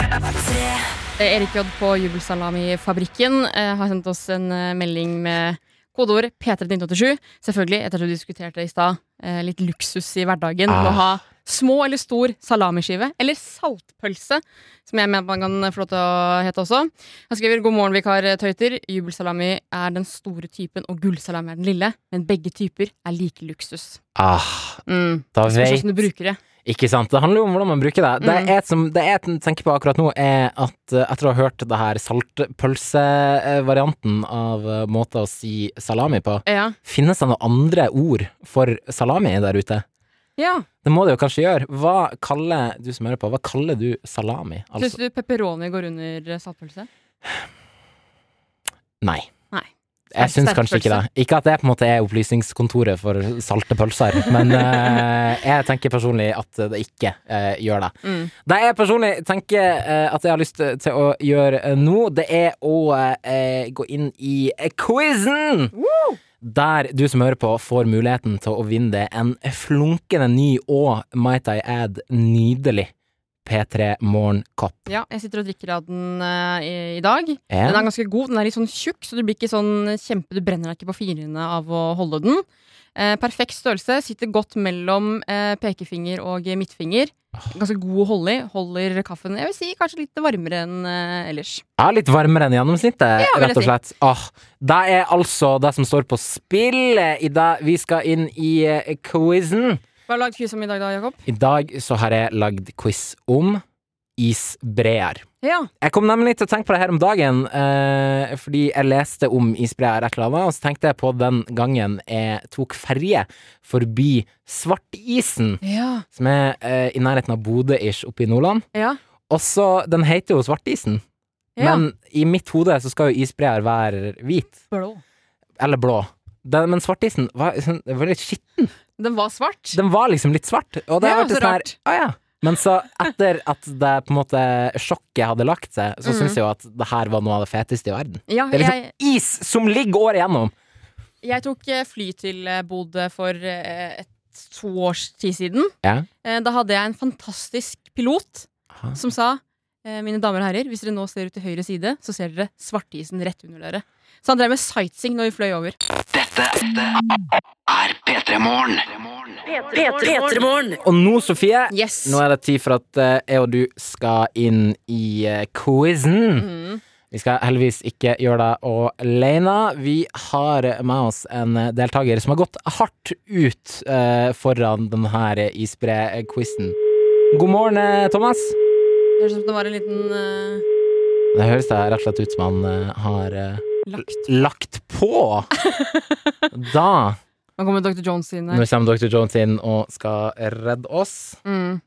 S3: Eh, Erik J. på Jubelsalamifabrikken eh, har sendt oss en eh, melding med kodeord P31987. Selvfølgelig, etter at du diskuterte det i stad, eh, litt luksus i hverdagen.
S2: Ah.
S3: Å ha små eller stor salamiskive, eller saltpølse, som jeg mener man kan få lov til å hete også. Han skriver 'God morgen, vikar Tøyter'. Jubelsalami er den store typen, og gullsalami er den lille. Men begge typer er like luksus.
S2: Ah,
S3: Mm.
S2: da
S3: Spørs
S2: vet
S3: hvordan du bruker det.
S2: Ikke sant? Det handler jo om hvordan man bruker det.
S3: Mm.
S2: Det, jeg som, det jeg ten- tenker på akkurat nå, er at eh, etter å ha hørt det her saltpølsevarianten av eh, måter å si salami på,
S3: Ja.
S2: finnes det noen andre ord for salami der ute?
S3: ja.
S2: Det må det jo kanskje gjøre. Hva kaller du som hører på, hva kaller du salami?
S3: Syns
S2: Altså,
S3: du pepperoni går under eh, saltpølse?
S2: nei.
S3: Nei.
S2: Jeg syns
S3: Sterk
S2: kanskje ikke det. Ikke at det på en måte er opplysningskontoret for salte pølser, men eh, jeg tenker personlig at det ikke eh, gjør det.
S3: Mm.
S2: Det jeg personlig tenker eh, at jeg har lyst til å gjøre eh, nå, det er å eh, gå inn i eh, quizen! Der du som hører på, får muligheten til å vinne det en flunkende ny og, might I add, nydelig P3 Morgenkopp.
S3: Ja, jeg sitter og drikker av den eh, i, i dag.
S2: Ja.
S3: Den er ganske god. Den er litt sånn tjukk, så du blir ikke sånn kjempe Du brenner deg ikke på fingrene av å holde den. Eh, perfekt størrelse. Sitter godt mellom eh, pekefinger og midtfinger. Ganske god å holde i. Holder kaffen jeg vil si, kanskje litt varmere enn eh, ellers.
S2: Ja, litt varmere enn gjennomsnittet,
S3: Ja, vil jeg
S2: rett og
S3: si.
S2: slett. Åh, det er altså det som står på spill eh, i det vi skal inn i eh, quizen.
S3: Hva har du lagd quiz om i dag, da, Jakob?
S2: I dag så har jeg lagd quiz om isbreer.
S3: Ja.
S2: Jeg kom nemlig til å tenke på det her om dagen, eh, fordi jeg leste om isbreer et eller annet, og så tenkte jeg på den gangen jeg tok ferje forbi Svartisen,
S3: Ja.
S2: som er eh, i nærheten av Bodø-ish oppe i Nordland.
S3: Ja.
S2: Og så, den heter jo Svartisen,
S3: ja.
S2: men i mitt hode så skal jo isbreer være hvit,
S3: Blå.
S2: eller blå. Den, men Svartisen var, [LAUGHS] sånn- den var litt skitten.
S3: Den var svart.
S2: Den var liksom litt svart, og det
S3: Ja,
S2: har vært
S3: så
S2: sånn her
S3: rart.
S2: ah, ja. Men så, etter at det på en måte sjokket hadde lagt seg, så
S3: Mhm.
S2: syns jeg jo at det her var noe av det feteste i verden.
S3: Ja,
S2: Det er liksom
S3: jeg,
S2: is som ligger året gjennom.
S3: jeg tok eh, fly til eh, Bodø for eh, et, to års tid siden.
S2: Ja.
S3: Eh, Da hadde jeg en fantastisk pilot som sa eh, Mine damer og herrer, hvis dere nå ser ut til høyre side, så ser dere svartisen rett under dere. Så han drev med sightseeing når vi fløy over.
S2: Og nå, Sofie,
S3: Yes!
S2: nå er det tid for at eh, jeg og du skal inn i eh, quizen.
S3: Mm.
S2: Vi skal heldigvis ikke gjøre det alene. Vi har med oss en eh, deltaker som har gått hardt ut eh, foran denne isbre-quizen. God morgen, eh, Thomas.
S3: Det høres ut som det var en liten eh,
S2: Det høres da rett og slett ut som han eh, har eh,
S3: lagt
S2: lagt på. Da
S3: Nå kommer Dr. Jones inn
S2: Nå
S3: her.
S2: kommer Dr. Jones inn og skal redde oss,
S3: Mm.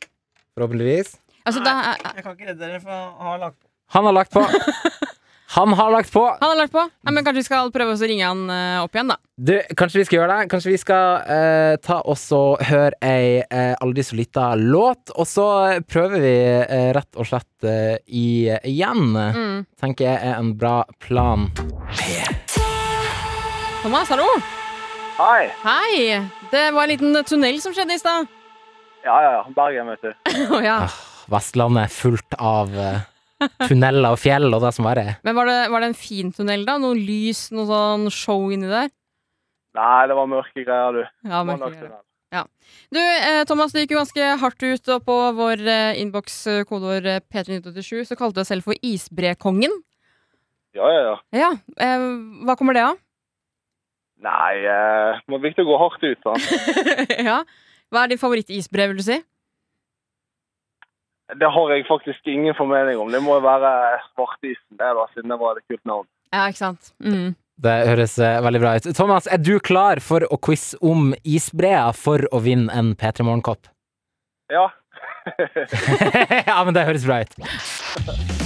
S2: forhåpentligvis.
S3: Altså, det er,
S4: Jeg kan ikke redde dere, for jeg har lagt på.
S2: Han har lagt på. Han har lagt på!
S3: han har lagt på. Nei, men kanskje vi skal prøve oss å ringe han eh, opp igjen, da.
S2: Du, kanskje vi skal gjøre det? Kanskje vi skal eh, ta oss og høre ei eh, aldri så lita låt, og så prøver vi eh, rett og slett eh, i, igjen.
S3: Mm.
S2: Tenker jeg er en bra plan.
S3: Thomas, hallo!
S6: Hei.
S3: Hei! Det var en liten tunnel som skjedde i stad.
S6: Ja, ja, ja. Bergen, vet du.
S3: [LAUGHS] Å, ja.
S2: Vestlandet er fullt av eh, tunneler og fjell og det som verre er.
S3: Men var det, var det en fin tunnel, da? Noe lys, noe sånn show inni der?
S6: Nei, det var mørke greier, du.
S3: Ja,
S6: Det var
S3: merkelig.
S6: nok
S3: ja.
S6: det der.
S3: Du, eh, Thomas, det gikk jo ganske hardt ut og på vår eh, innboks eh, kodeord eh, P3987, så kalte du deg selv for Isbrekongen.
S6: Ja, ja, ja.
S3: Ja, eh, hva kommer det av? [LAUGHS]
S6: Nei, eh, det var viktig å gå hardt ut, da.
S3: ja. Hva er din favorittisbre, vil du si?
S6: Det har jeg faktisk ingen formening om. Det må jo være Svartisen, det da, siden det var et kult navn.
S3: Ja, ikke sant? Mm.
S2: Det høres eh, veldig bra ut. Thomas, er du klar for å quize om isbreer for å vinne en P3 Morgenkopp?
S6: Ja. [LAUGHS]
S2: [LAUGHS] ja, men det høres bra ut.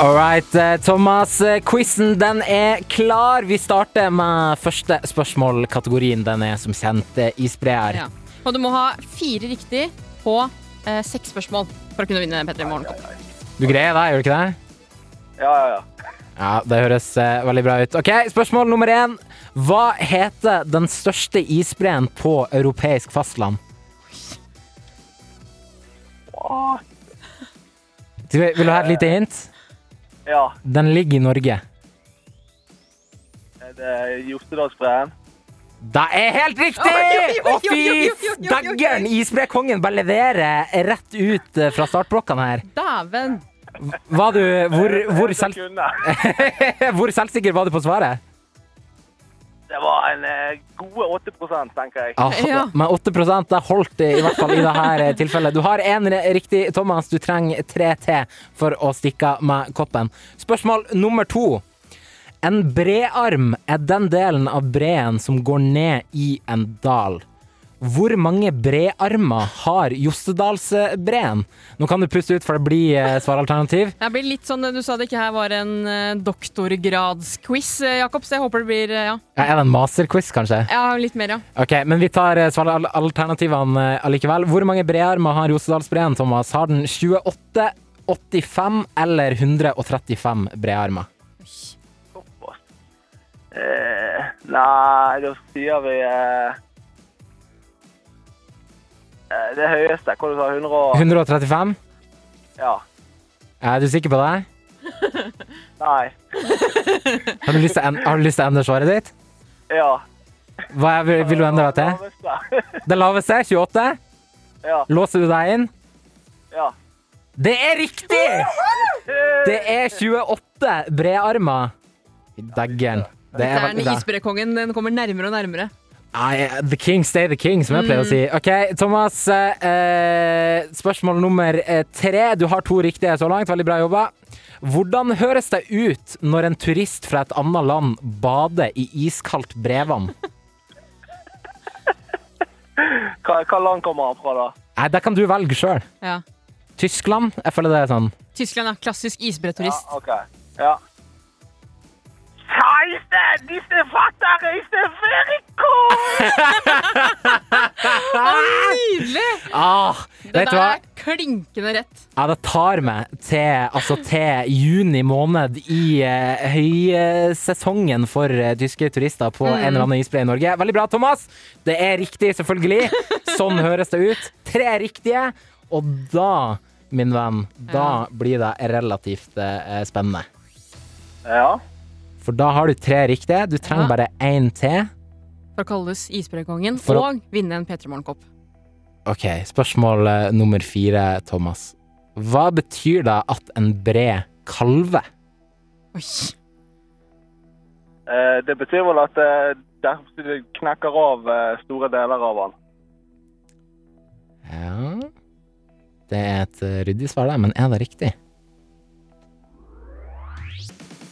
S2: All right, eh, Thomas. eh, Quizen den er klar. Vi starter med første spørsmål. Kategorien den er som kjent eh, isbreer.
S3: Ja. Og du må ha fire riktig på eh, seks spørsmål for å kunne vinne P3 Morgenkopp.
S2: Du greier det, gjør du ikke det?
S6: Ja, ja, ja.
S2: Ja, Det høres eh, veldig bra ut. Ok, Spørsmål nummer én. Hva heter den største isbreen på europeisk fastland? Du, vil du ha et lite hint?
S6: ja.
S2: Den ligger i Norge.
S6: Er det Jostedalsbreen?
S2: Det er helt riktig!
S3: Oi, oi, oi, oi, oi, oi, oi, oi, oi,
S2: Og fy
S3: oi, oi, oi.
S2: daggeren, isbrekongen bare leverer rett ut eh, fra startblokkene her.
S3: Dæven!
S2: Var du, hvor, hvor,
S6: Jeg
S2: selv,
S6: kunne.
S2: [LAUGHS] hvor selvsikker var du på svaret?
S6: Det var en eh, gode 8 tenker jeg.
S2: Ja,
S3: Ja.
S2: Ah, Men 8 det holdt i hvert fall i dette tilfellet. Du har én riktig, Thomas. Du trenger tre til for å stikke av med koppen. Spørsmål nummer to. En brearm er den delen av breen som går ned i en dal. Hvor mange brearmer har Jostedalsbreen? Nå kan du puste ut, for det blir eh, svaralternativ.
S3: Jeg blir litt sånn, Du sa det ikke her var en eh, doktorgradsquiz, eh, Jakob, så jeg håper det blir eh, ja.
S2: Ja, Er det en masterquiz, kanskje?
S3: ja, litt mer, ja.
S2: Ok, men vi tar eh, svar- al- alternativene eh, allikevel. Hvor mange brearmer har Rosedalsbreen, Thomas? Har den 28, 85 eller 135 brearmer?
S6: Såpass. Eh, nei, da sier vi eh, eh, Det høyeste. Hva du sa 100 og
S2: 135?
S6: Ja.
S2: Er du sikker på det?
S6: Nei.
S2: Har du lyst til å, en har du lyst til å endre svaret ditt?
S6: Ja.
S2: Hva er, vil, vil du endre deg til?
S6: Laveste.
S2: Det laveste? 28?
S6: ja.
S2: Låser du deg inn?
S6: [LAUGHS] Ja.
S2: Det er riktig! Det er 28 brearmer. Daggeren. Det er
S3: Der
S2: veldig
S3: den
S2: bra.
S3: isbrekongen den kommer nærmere og nærmere.
S2: Nei, the king stay the king, som jeg pleier
S3: Mm.
S2: å si. Ok, Thomas. Eh, spørsmål nummer eh, tre. Du har to riktige så langt. Veldig bra jobba. Hvordan høres det ut når en turist fra et annet land bader i iskaldt brevann?
S6: Hva, hva land kommer han fra, da?
S2: Nei, Det kan du velge sjøl.
S3: Ja.
S2: Tyskland? Jeg føler det er sånn.
S3: Tyskland er klassisk isbreturist.
S6: Ja, ok. Ja. Scheiße, diese Vater ist very cool!
S3: Nydelig!
S2: Ah,
S3: Det
S2: vet du
S3: der
S2: hva?
S3: er klinkende rett.
S2: Ja, det tar meg til, altså, til juni måned i eh, høysesongen for eh, tyske turister på en eller annen isbre i Norge. Veldig bra, Thomas! Det er riktig, selvfølgelig. Sånn høres det ut. Tre riktige, og da, min venn, da blir det relativt eh, spennende.
S6: Ja.
S2: For da har du tre riktige. Du trenger
S3: Ja.
S2: bare én til.
S3: For å kalles isbrekongen
S2: For å-
S3: og vinne en P3 Morgenkopp.
S2: OK, spørsmål eh, nummer fire, Thomas. Hva betyr det at en bre kalver?
S3: Oi.
S6: Eh, det betyr vel at eh, det knekker av eh, store deler av han.
S2: Ja Det er et eh, ryddig svar, der, men er det riktig?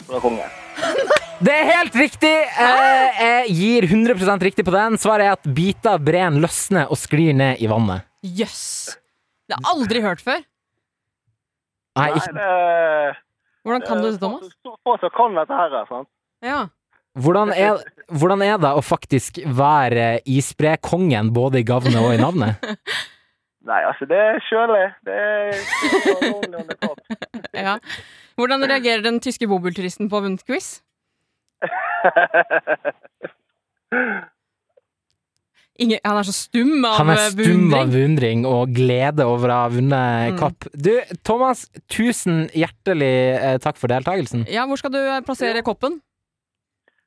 S6: Fra kongen.
S2: Det er helt riktig! Eh, jeg gir 100 riktig på den. Svaret er at biter av breen løsner og sklir ned i vannet.
S3: Jøss! Det har jeg aldri hørt før.
S2: Nei,
S6: Nei,
S2: ikke.
S6: det er-
S3: Hvordan kan du det, Thomas?
S6: Så få som kan dette her, sant?
S3: Ja.
S2: Hvordan, er, hvordan er det å faktisk være eh, isbrekongen både i gavnet og i navnet?
S6: Nei, altså, det er kjølig. Det er det er rolig under [LAUGHS] kopp.
S3: ja. Hvordan reagerer den tyske bobilturisten på vunnet quiz? Ingen, han er så stum av
S2: Han er
S3: eh,
S2: stum
S3: beundring.
S2: av beundring og glede over å ha vunnet kapp. Du, Thomas, tusen hjertelig eh, takk for deltakelsen.
S3: Ja, hvor skal du eh, plassere koppen?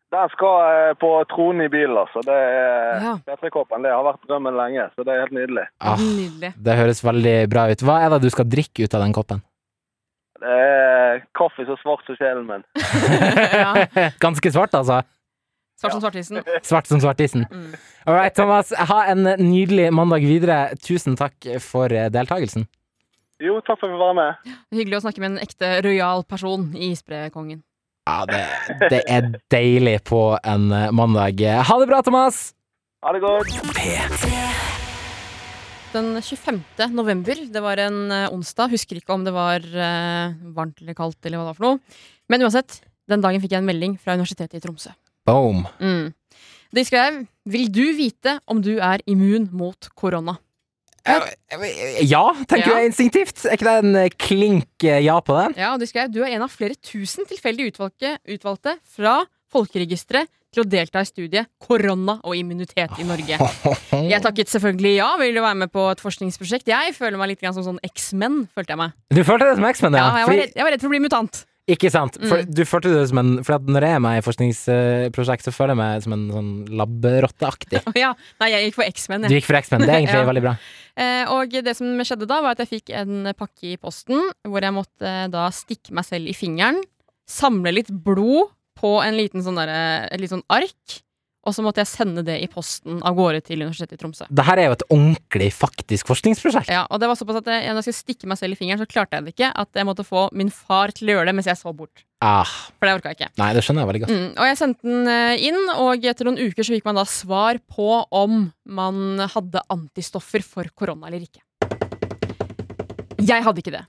S6: Den skal eh, på tronen i bilen, altså. Det er
S3: Ja.
S6: P3-koppen. Det har vært drømmen lenge, så det er helt nydelig.
S2: Ah,
S3: [LAUGHS] Nydelig.
S2: det høres veldig bra ut. Hva er det du skal drikke ut av den koppen? [LAUGHS]
S6: Det er kaffe så svart som sjelen min.
S3: ja.
S2: Ganske svart, altså.
S3: Svart som svartisen.
S2: Svart som svartisen.
S3: Mm.
S2: All right, Thomas. Ha en nydelig mandag videre. Tusen takk for eh, deltakelsen.
S6: Jo, takk for at vi var med.
S3: Hyggelig å snakke med en ekte rojal person i Isbrekongen.
S2: Ja, det, det er deilig på en eh, mandag. Ha det bra, Thomas!
S6: Ha det godt.
S3: Den 25. november, det var en eh, onsdag, husker ikke om det var eh, varmt eller kaldt eller hva det var for noe. Men uansett, den dagen fikk jeg en melding fra Universitetet i Tromsø.
S2: Boom.
S3: Mm. De skrev 'Vil du vite om du er immun mot korona?'
S2: Ja, tenker
S3: Ja.
S2: jeg instinktivt. Er ikke det en eh, klink eh, ja på den?
S3: Ja, og de skrev 'Du er en av flere tusen tilfeldig utvalgte, utvalgte fra folkeregisteret til å delta i studiet 'Korona og immunitet i Norge'. Jeg takket selvfølgelig ja. Ville være med på et forskningsprosjekt. Jeg føler meg litt grann som sånn X-Men, følte jeg meg.
S2: Du følte det som X-Men,
S3: Ja,
S2: ja?
S3: jeg, var
S2: Fordi-
S3: redd, jeg var redd for å bli mutant. [LAUGHS]
S2: Ikke sant? For,
S3: Mm.
S2: du følte det som en For at når jeg er med i forskningsprosjekt, så føler jeg meg som en sånn labberotteaktig.
S3: Å Ja, nei, jeg gikk for X-Men,
S2: Du
S3: jeg.
S2: gikk for X-Men. Det er egentlig
S3: Ja.
S2: veldig bra.
S3: Eh, og det som skjedde da, var at jeg fikk en pakke i posten hvor jeg måtte eh, da stikke meg selv i fingeren, samle litt blod på en liten sånn derre- et litt sånn ark, og så måtte jeg sende det i posten av gårde til Universitetet i Tromsø.
S2: Det her er jo et ordentlig, faktisk forskningsprosjekt.
S3: Ja, og det var såpass at jeg, når jeg skulle stikke meg selv i fingeren, så klarte jeg det ikke. At jeg måtte få min far til å gjøre det mens jeg så bort.
S2: Ah,
S3: For det orka jeg ikke.
S2: nei, det skjønner jeg veldig godt.
S3: Mm, og jeg sendte den eh, inn, og etter noen uker så fikk man da svar på om man hadde antistoffer for korona eller ikke. Jeg hadde ikke det.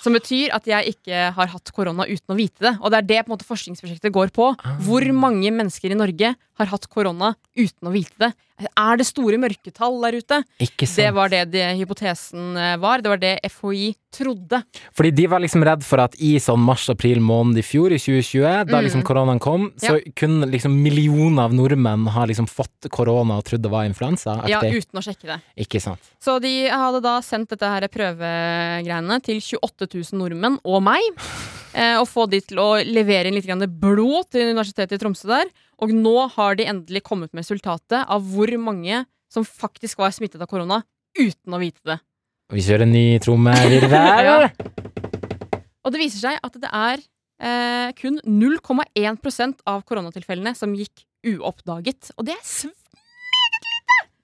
S3: Som betyr at jeg ikke har hatt korona uten å vite det. Og det er det på en måte forskningsprosjektet går på. Hvor
S2: Ah.
S3: mange mennesker i Norge har hatt korona uten å vite det? Er det store mørketall der ute?
S2: Ikke sant?
S3: Det var det, det hypotesen eh, var. Det var det FHI trodde.
S2: Fordi de var liksom redd for at i sånn mars-april måned i fjor, i 2020, da
S3: Mm.
S2: liksom koronaen kom, så kunne liksom millioner av nordmenn ha liksom fått korona og trodd det var influensa.
S3: Ja,
S2: aktig.
S3: uten å sjekke det.
S2: Ikke sant.
S3: Så de hadde da sendt dette her prøvegreiene til 28 000 nordmenn og meg. eh, Og få de til å levere inn litt grann blod til Universitetet i Tromsø der. Og nå har de endelig kommet med resultatet av hvor mange som faktisk var smittet av korona uten å vite det.
S2: Vi kjører en ny trommevirvel.
S3: [LAUGHS] Ja. Og det viser seg at det er eh, kun 0,1 av koronatilfellene som gikk uoppdaget. Og det er sv...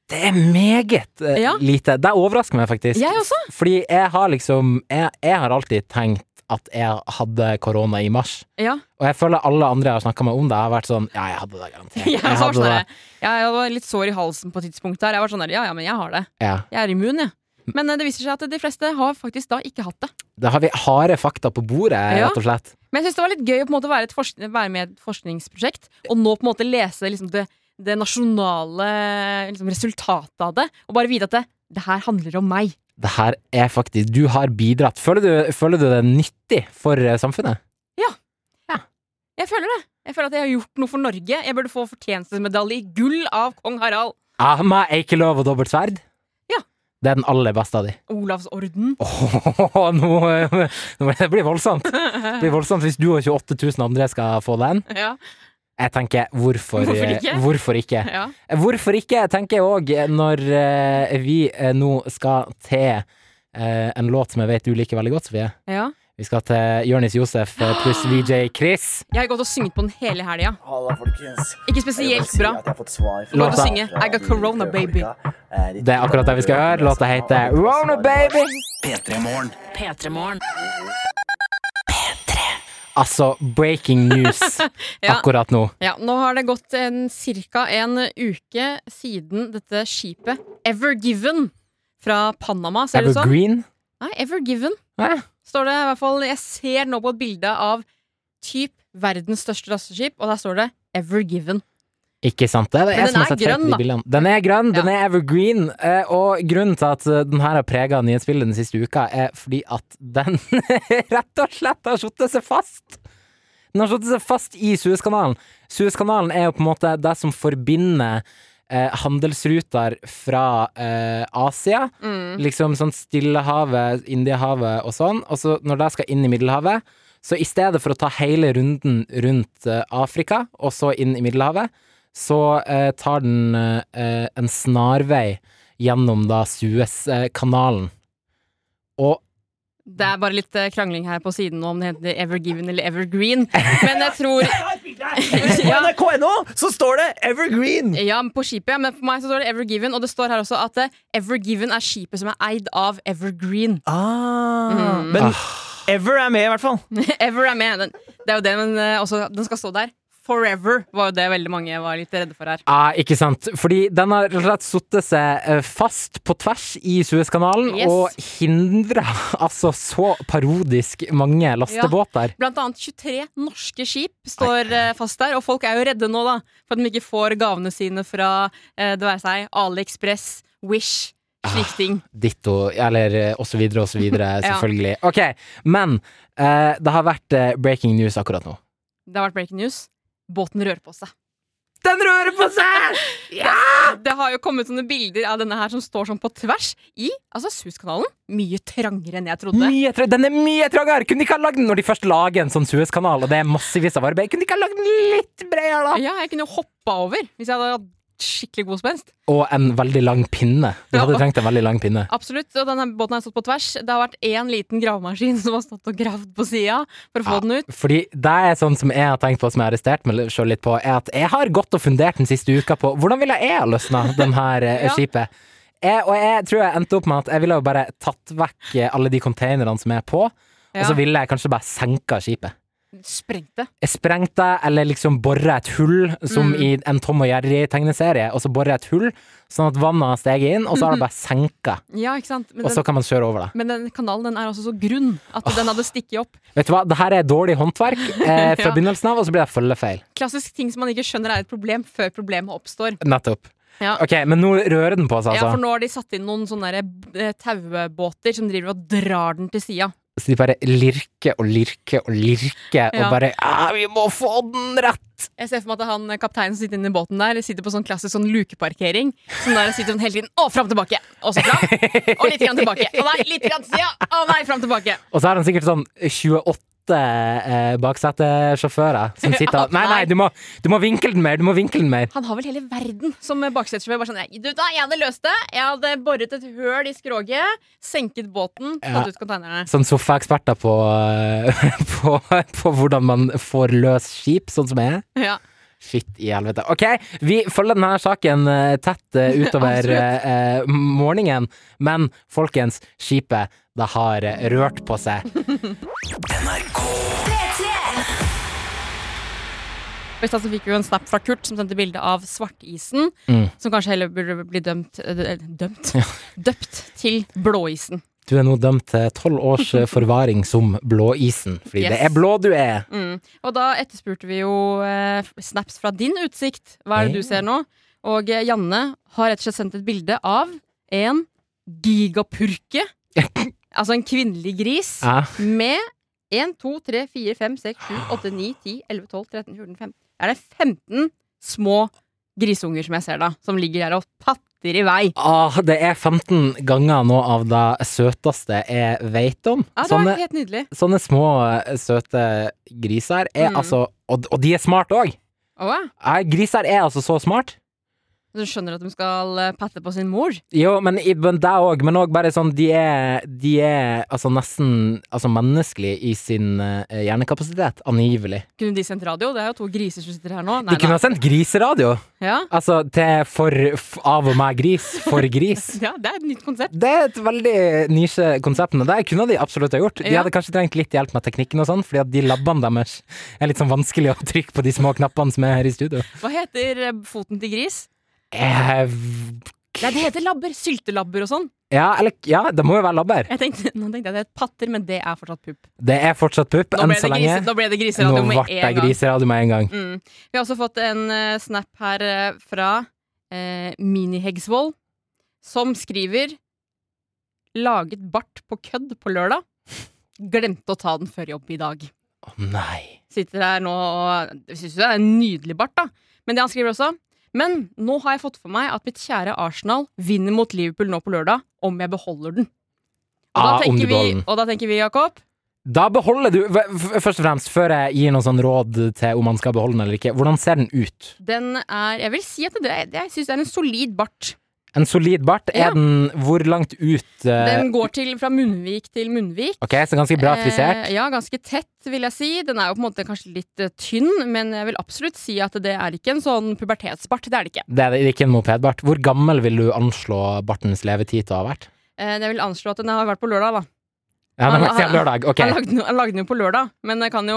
S2: Det er meget eh,
S3: Ja.
S2: lite. Det overrasker meg faktisk.
S3: Jeg også.
S2: Fordi jeg har liksom Jeg, jeg har alltid tenkt at jeg hadde korona i mars.
S3: Ja.
S2: Og jeg føler alle andre jeg har snakka med om det, har vært sånn Ja, jeg hadde det
S3: [LAUGHS]
S2: garantert.
S3: Jeg, var
S2: hadde
S3: sånn
S2: det.
S3: der- jeg var litt sår i halsen på et tidspunkt der. Jeg var sånn der, ja, ja, men jeg har det.
S2: Ja.
S3: Jeg er immun, jeg. Men eh, det viser seg at de fleste har faktisk da ikke hatt det.
S2: Da har vi harde fakta på bordet,
S3: Ja.
S2: rett og slett.
S3: Men jeg syns det var litt gøy å på en måte være, et forsk være med i et forskningsprosjekt, og nå på en måte lese liksom det, det nasjonale liksom resultatet av det, og bare vite at det, det her handler om meg.
S2: Det her er faktisk Du har bidratt. Føler du, føler du det er nyttig for eh, samfunnet?
S3: Jeg føler det. Jeg føler at jeg har gjort noe for Norge. Jeg burde få fortjenstmedalje i gull av kong Harald.
S2: Ah, meg er ikke lov og dobbelt sverd?
S3: Ja.
S2: Det er den aller beste av de. [LAUGHS]
S3: Olavsorden.
S2: Åh, nå, eh, nå, det blir voldsomt. Det blir voldsomt hvis du og 28 000 andre skal få den.
S3: Ja,
S2: Jeg tenker, hvorfor, eh,
S3: Hvorfor ikke?
S2: Hvorfor ikke?
S3: ja.
S2: Hvorfor ikke, tenker jeg òg, når eh, vi eh, nå skal til eh, en låt som jeg vet du liker veldig godt, Sofie.
S3: ja.
S2: Vi skal til Jonis Josef eh, pluss
S3: [GASPS]
S2: VJ Chris.
S3: Jeg har gått og synget på den hele helga.
S7: Halla, folkens.
S3: Ikke
S7: Jeg vil
S3: spesielt
S7: si
S3: bra.
S7: at jeg har fått svar fra
S2: Låta-
S7: fra
S3: synge, I got
S7: de
S3: corona,
S7: folka.
S3: baby.
S7: Eh, de
S2: Det er akkurat det vi skal høre. Låta heter Rona Baby.
S7: P3-morgen.
S1: P3morgen.
S2: Altså, breaking news
S3: [LAUGHS] Ja.
S2: akkurat nå.
S3: Ja, nå har det gått en, cirka en uke siden dette skipet Ever Given fra Panama, ser sånn? det ut som.
S2: Evergreen.
S3: Nei, Ever Given
S2: Hæ?
S3: står det i hvert fall. Jeg ser nå på et bilde av typ verdens største lasteskip, og der står det Ever Given.
S2: Ikke sant? Det er det
S3: Men
S2: jeg
S3: den
S2: som har
S3: er
S2: sett fake
S3: grønn,
S2: i de
S3: da.
S2: bildene. Den er grønn, den
S3: Ja.
S2: er evergreen, eh, og grunnen til at eh, den her har prega nyhetsbildet den siste uka, er fordi at den [LAUGHS] rett og slett har satt seg fast. Den har satt seg fast i Suezkanalen. Suezkanalen er jo på en måte det som forbinder eh, handelsruter fra eh, Asia,
S3: Mm.
S2: liksom sånn Stillehavet, Indiahavet og sånn, og så når det skal inn i Middelhavet, så i stedet for å ta hele runden rundt eh, Afrika, og så inn i Middelhavet, så eh, tar den eh, en snarvei gjennom da Suezkanalen. Og
S3: Det er bare litt eh, krangling her på siden nå om det heter Ever Given eller Evergreen, men jeg tror [LAUGHS]
S4: På
S3: Ja.
S4: NRK.no så står det Evergreen!
S3: Ja, på skipet, ja, men for meg så står det Ever Given, og det står her også at eh, Ever Given er skipet som er eid av Evergreen.
S4: Ah, Men Ever er med, i hvert fall.
S3: Ever er med. Den, det er jo det, men eh, også, at den skal stå der. Forever var jo det veldig mange var litt redde for her.
S2: Ja, eh, ikke sant. Fordi den har rett og slett satt seg eh, fast på tvers i Suezkanalen
S3: Yes.
S2: og hindra [LAUGHS] altså så parodisk mange lastebåter.
S3: Blant annet 23 norske skip står eh, fast der, og folk er jo redde nå, da. For at de ikke får gavene sine fra eh, det være seg AliExpress, Wish,
S2: Ah.
S3: slike ting.
S2: Ditto, eller eh, og så videre og så [LAUGHS] videre,
S3: Ja.
S2: selvfølgelig. Ok, men eh, det har vært eh, breaking news akkurat nå.
S3: Det har vært breaking news. Båten rører på seg.
S2: Den rører på
S3: [LAUGHS]
S2: seg!
S3: Det har jo kommet sånne bilder av denne her som står sånn på tvers i altså Suezkanalen. Mye trangere enn jeg trodde.
S2: Mye tra den er mye trangere! Kunne de ikke ha lagd den når de først lager en sånn Suezkanal, og det er massevis av arbeid? Kunne de ikke ha lagd den litt bredere, da?
S3: Ja, jeg kunne jo hoppa over hvis jeg hadde hatt skikkelig god spenst.
S2: Og en veldig lang pinne. Du hadde
S3: Ja.
S2: trengt en veldig lang pinne.
S3: Absolutt, og denne båten har stått på tvers. Det har vært én liten gravemaskin som har stått og gravd på sida for å få
S2: Ja.
S3: den ut.
S2: Fordi det er sånn som jeg har tenkt på, som jeg har arrestert meg selv litt på, er at jeg har gått og fundert den siste uka på hvordan ville jeg ha løsna den her eh,
S3: [LAUGHS] Ja.
S2: skipet. Jeg, og jeg tror jeg endte opp med at jeg ville jo bare tatt vekk eh, alle de containerne som er på, og
S3: Ja.
S2: så ville jeg kanskje bare senka skipet.
S3: Sprengte.
S2: Jeg sprengte eller liksom bora et hull, som
S3: Mm.
S2: i en Tom og Jerry-tegneserie, og så bora et hull, sånn at vannet har steget inn, og så har
S3: Mhm.
S2: det bare senka,
S3: Ja, ikke sant? Men
S2: og så
S3: den,
S2: kan man kjøre over det.
S3: men den kanalen den er også så grunn at den hadde stikket opp.
S2: Vet du hva, det her er dårlig håndverk
S3: [LAUGHS]
S2: eh, fra
S3: Ja.
S2: begynnelsen av, og så blir det følgefeil.
S3: Klassisk ting som man ikke skjønner er et problem før problemet oppstår.
S2: Nettopp.
S3: Ja.
S2: Ok, men nå rører den på seg,
S3: Ja,
S2: altså.
S3: For nå har de satt inn noen sånne der, eh, taubåter som driver og drar den til sida.
S2: Så de bare lirker og lirker og lirker, og
S3: Ja.
S2: bare «Ah, Vi må få den rett!
S3: Jeg ser for meg at han eh, kapteinen som sitter inne i båten der, sitter på sånn klassisk sånn lukeparkering. Sånn der sitter sånn hele tiden. Å, fram tilbake! Og så fram. Og litt grann tilbake. Å nei, litt grann til sida! Å nei, fram tilbake!
S2: Og så har han sikkert sånn 28 eh,
S3: [LAUGHS]
S2: baksetesjåfører som sitter og Nei, nei, du må, du må vinkle den mer! Du må vinkle den mer!
S3: Han har vel hele verden som baksetesjåfør. Bare sånn, «Nei, du, da, jeg hadde løst det. Jeg hadde boret et høl i skroget, senket båten,
S2: Ja.
S3: tatt ut konteinerne.
S2: Sånn sofaeksperter på, eh, [LAUGHS] på, på hvordan man får løs skip, sånn som jeg er.
S3: Ja.
S2: Shit i helvete. OK, vi følger denne saken eh, tett
S3: [LAUGHS]
S2: eh, utover eh, eh, morgenen. Men folkens, skipet, det har eh, rørt på seg.
S3: Og I stad så fikk vi jo en snap fra Kurt som sendte bilde av svartisen,
S2: Mm.
S3: som kanskje heller burde bli dømt eh, Dømt? [LAUGHS] Døpt til blåisen.
S2: Du er nå dømt til tolv års eh, forvaring som blåisen, fordi
S3: Yes.
S2: det er blå du er.
S3: Mm. Og da etterspurte vi jo eh, snaps fra din utsikt. Hva er det
S2: Ja.
S3: du ser nå? Og eh, Janne har rett og slett sendt et bilde av en
S2: [LAUGHS]
S3: gigapurke. altså en kvinnelig gris
S2: Ja.
S3: med 1, 2, 3, 4, 5, 6, 7, 8, 9, 10, 11, 12, 13, 14, 15 Er det 15 små grisunger som jeg ser da, som ligger der og patter i vei?
S2: Ah, det er 15 ganger noe av det søteste jeg vet om.
S3: Ja, det
S2: Sånn, eh,
S3: var
S2: sånne,
S3: helt nydelig.
S2: sånne små, eh, søte griser er
S3: Mm.
S2: altså Og, og de er smarte òg!
S3: Å, ja.
S2: Griser er altså så smart.
S3: Du skjønner at de skal eh, patte på sin mor?
S2: Jo, men, i- men det òg. Men òg bare sånn De er, de er altså nesten altså menneskelige i sin eh, hjernekapasitet, angivelig.
S3: Kunne de sendt radio? Det er jo to griser som sitter her nå.
S2: De kunne ha sendt griseradio!
S3: Ja.
S2: Altså til for f- av og med gris. For gris.
S3: [LAUGHS] Ja, det er et nytt konsept.
S2: Det er et veldig nisje konsept, men det kunne de absolutt ha gjort. De
S3: Ja.
S2: hadde kanskje trengt litt hjelp med teknikken og sånn, fordi at de labbene deres er litt sånn vanskelig å trykke på de små knappene som er her i studio.
S3: Hva heter eh, foten til gris?
S2: Eh,
S3: Nei, det heter labber. Syltelabber og sånn.
S2: ja, eller ja, det må jo være labber.
S3: Jeg tenkte, nå tenkte jeg det het patter, men det er fortsatt pupp.
S2: Det er fortsatt pupp,
S3: Nå
S2: enn
S3: ble
S2: så
S3: det,
S2: lenge.
S3: grise, nå ble det
S2: Nå
S3: griseradio
S2: ble
S3: med
S2: det
S3: en gang.
S2: griseradio med en gang.
S3: Mm. Vi har også fått en eh, snap her eh, fra uh, Mini-Hegsvold, som skriver Laget bart på kødd på lørdag. Glemte å ta den før jobb i dag.
S2: Å nei.
S3: Sitter her nå og syns jo det er en nydelig bart, da. Men det han skriver også Men nå har jeg fått for meg at mitt kjære Arsenal vinner mot Liverpool nå på lørdag om jeg beholder den. Og da
S2: Ah, om du
S3: tenker,
S2: beholder
S3: vi,
S2: den.
S3: og da tenker vi, Jakob
S2: Da beholder du v- f- Først og fremst, før jeg gir noen sånn råd til om man skal beholde den eller ikke, hvordan ser den ut?
S3: den er, Jeg vil si at det, jeg syns det er en solid bart.
S2: En solid bart?
S3: Ja.
S2: Er den Hvor langt ut eh,
S3: Den går til, fra munnvik til munnvik.
S2: Ok, så ganske bra frisert.
S3: Eh, ja, ganske tett, vil jeg si. Den er jo på en måte kanskje litt eh, tynn, men jeg vil absolutt si at det er ikke en sånn pubertetsbart. Det er det ikke.
S2: Det er det ikke en mopedbart. Hvor gammel vil du anslå bartens levetid til å ha vært?
S3: Eh, jeg vil anslå at den har vært på lørdag, da.
S2: Ja,
S3: Han-
S2: den var ikke
S3: han-
S2: lørdag. Ok.
S3: Han, lagde, den- han lagde den jo på lørdag, men jeg kan jo,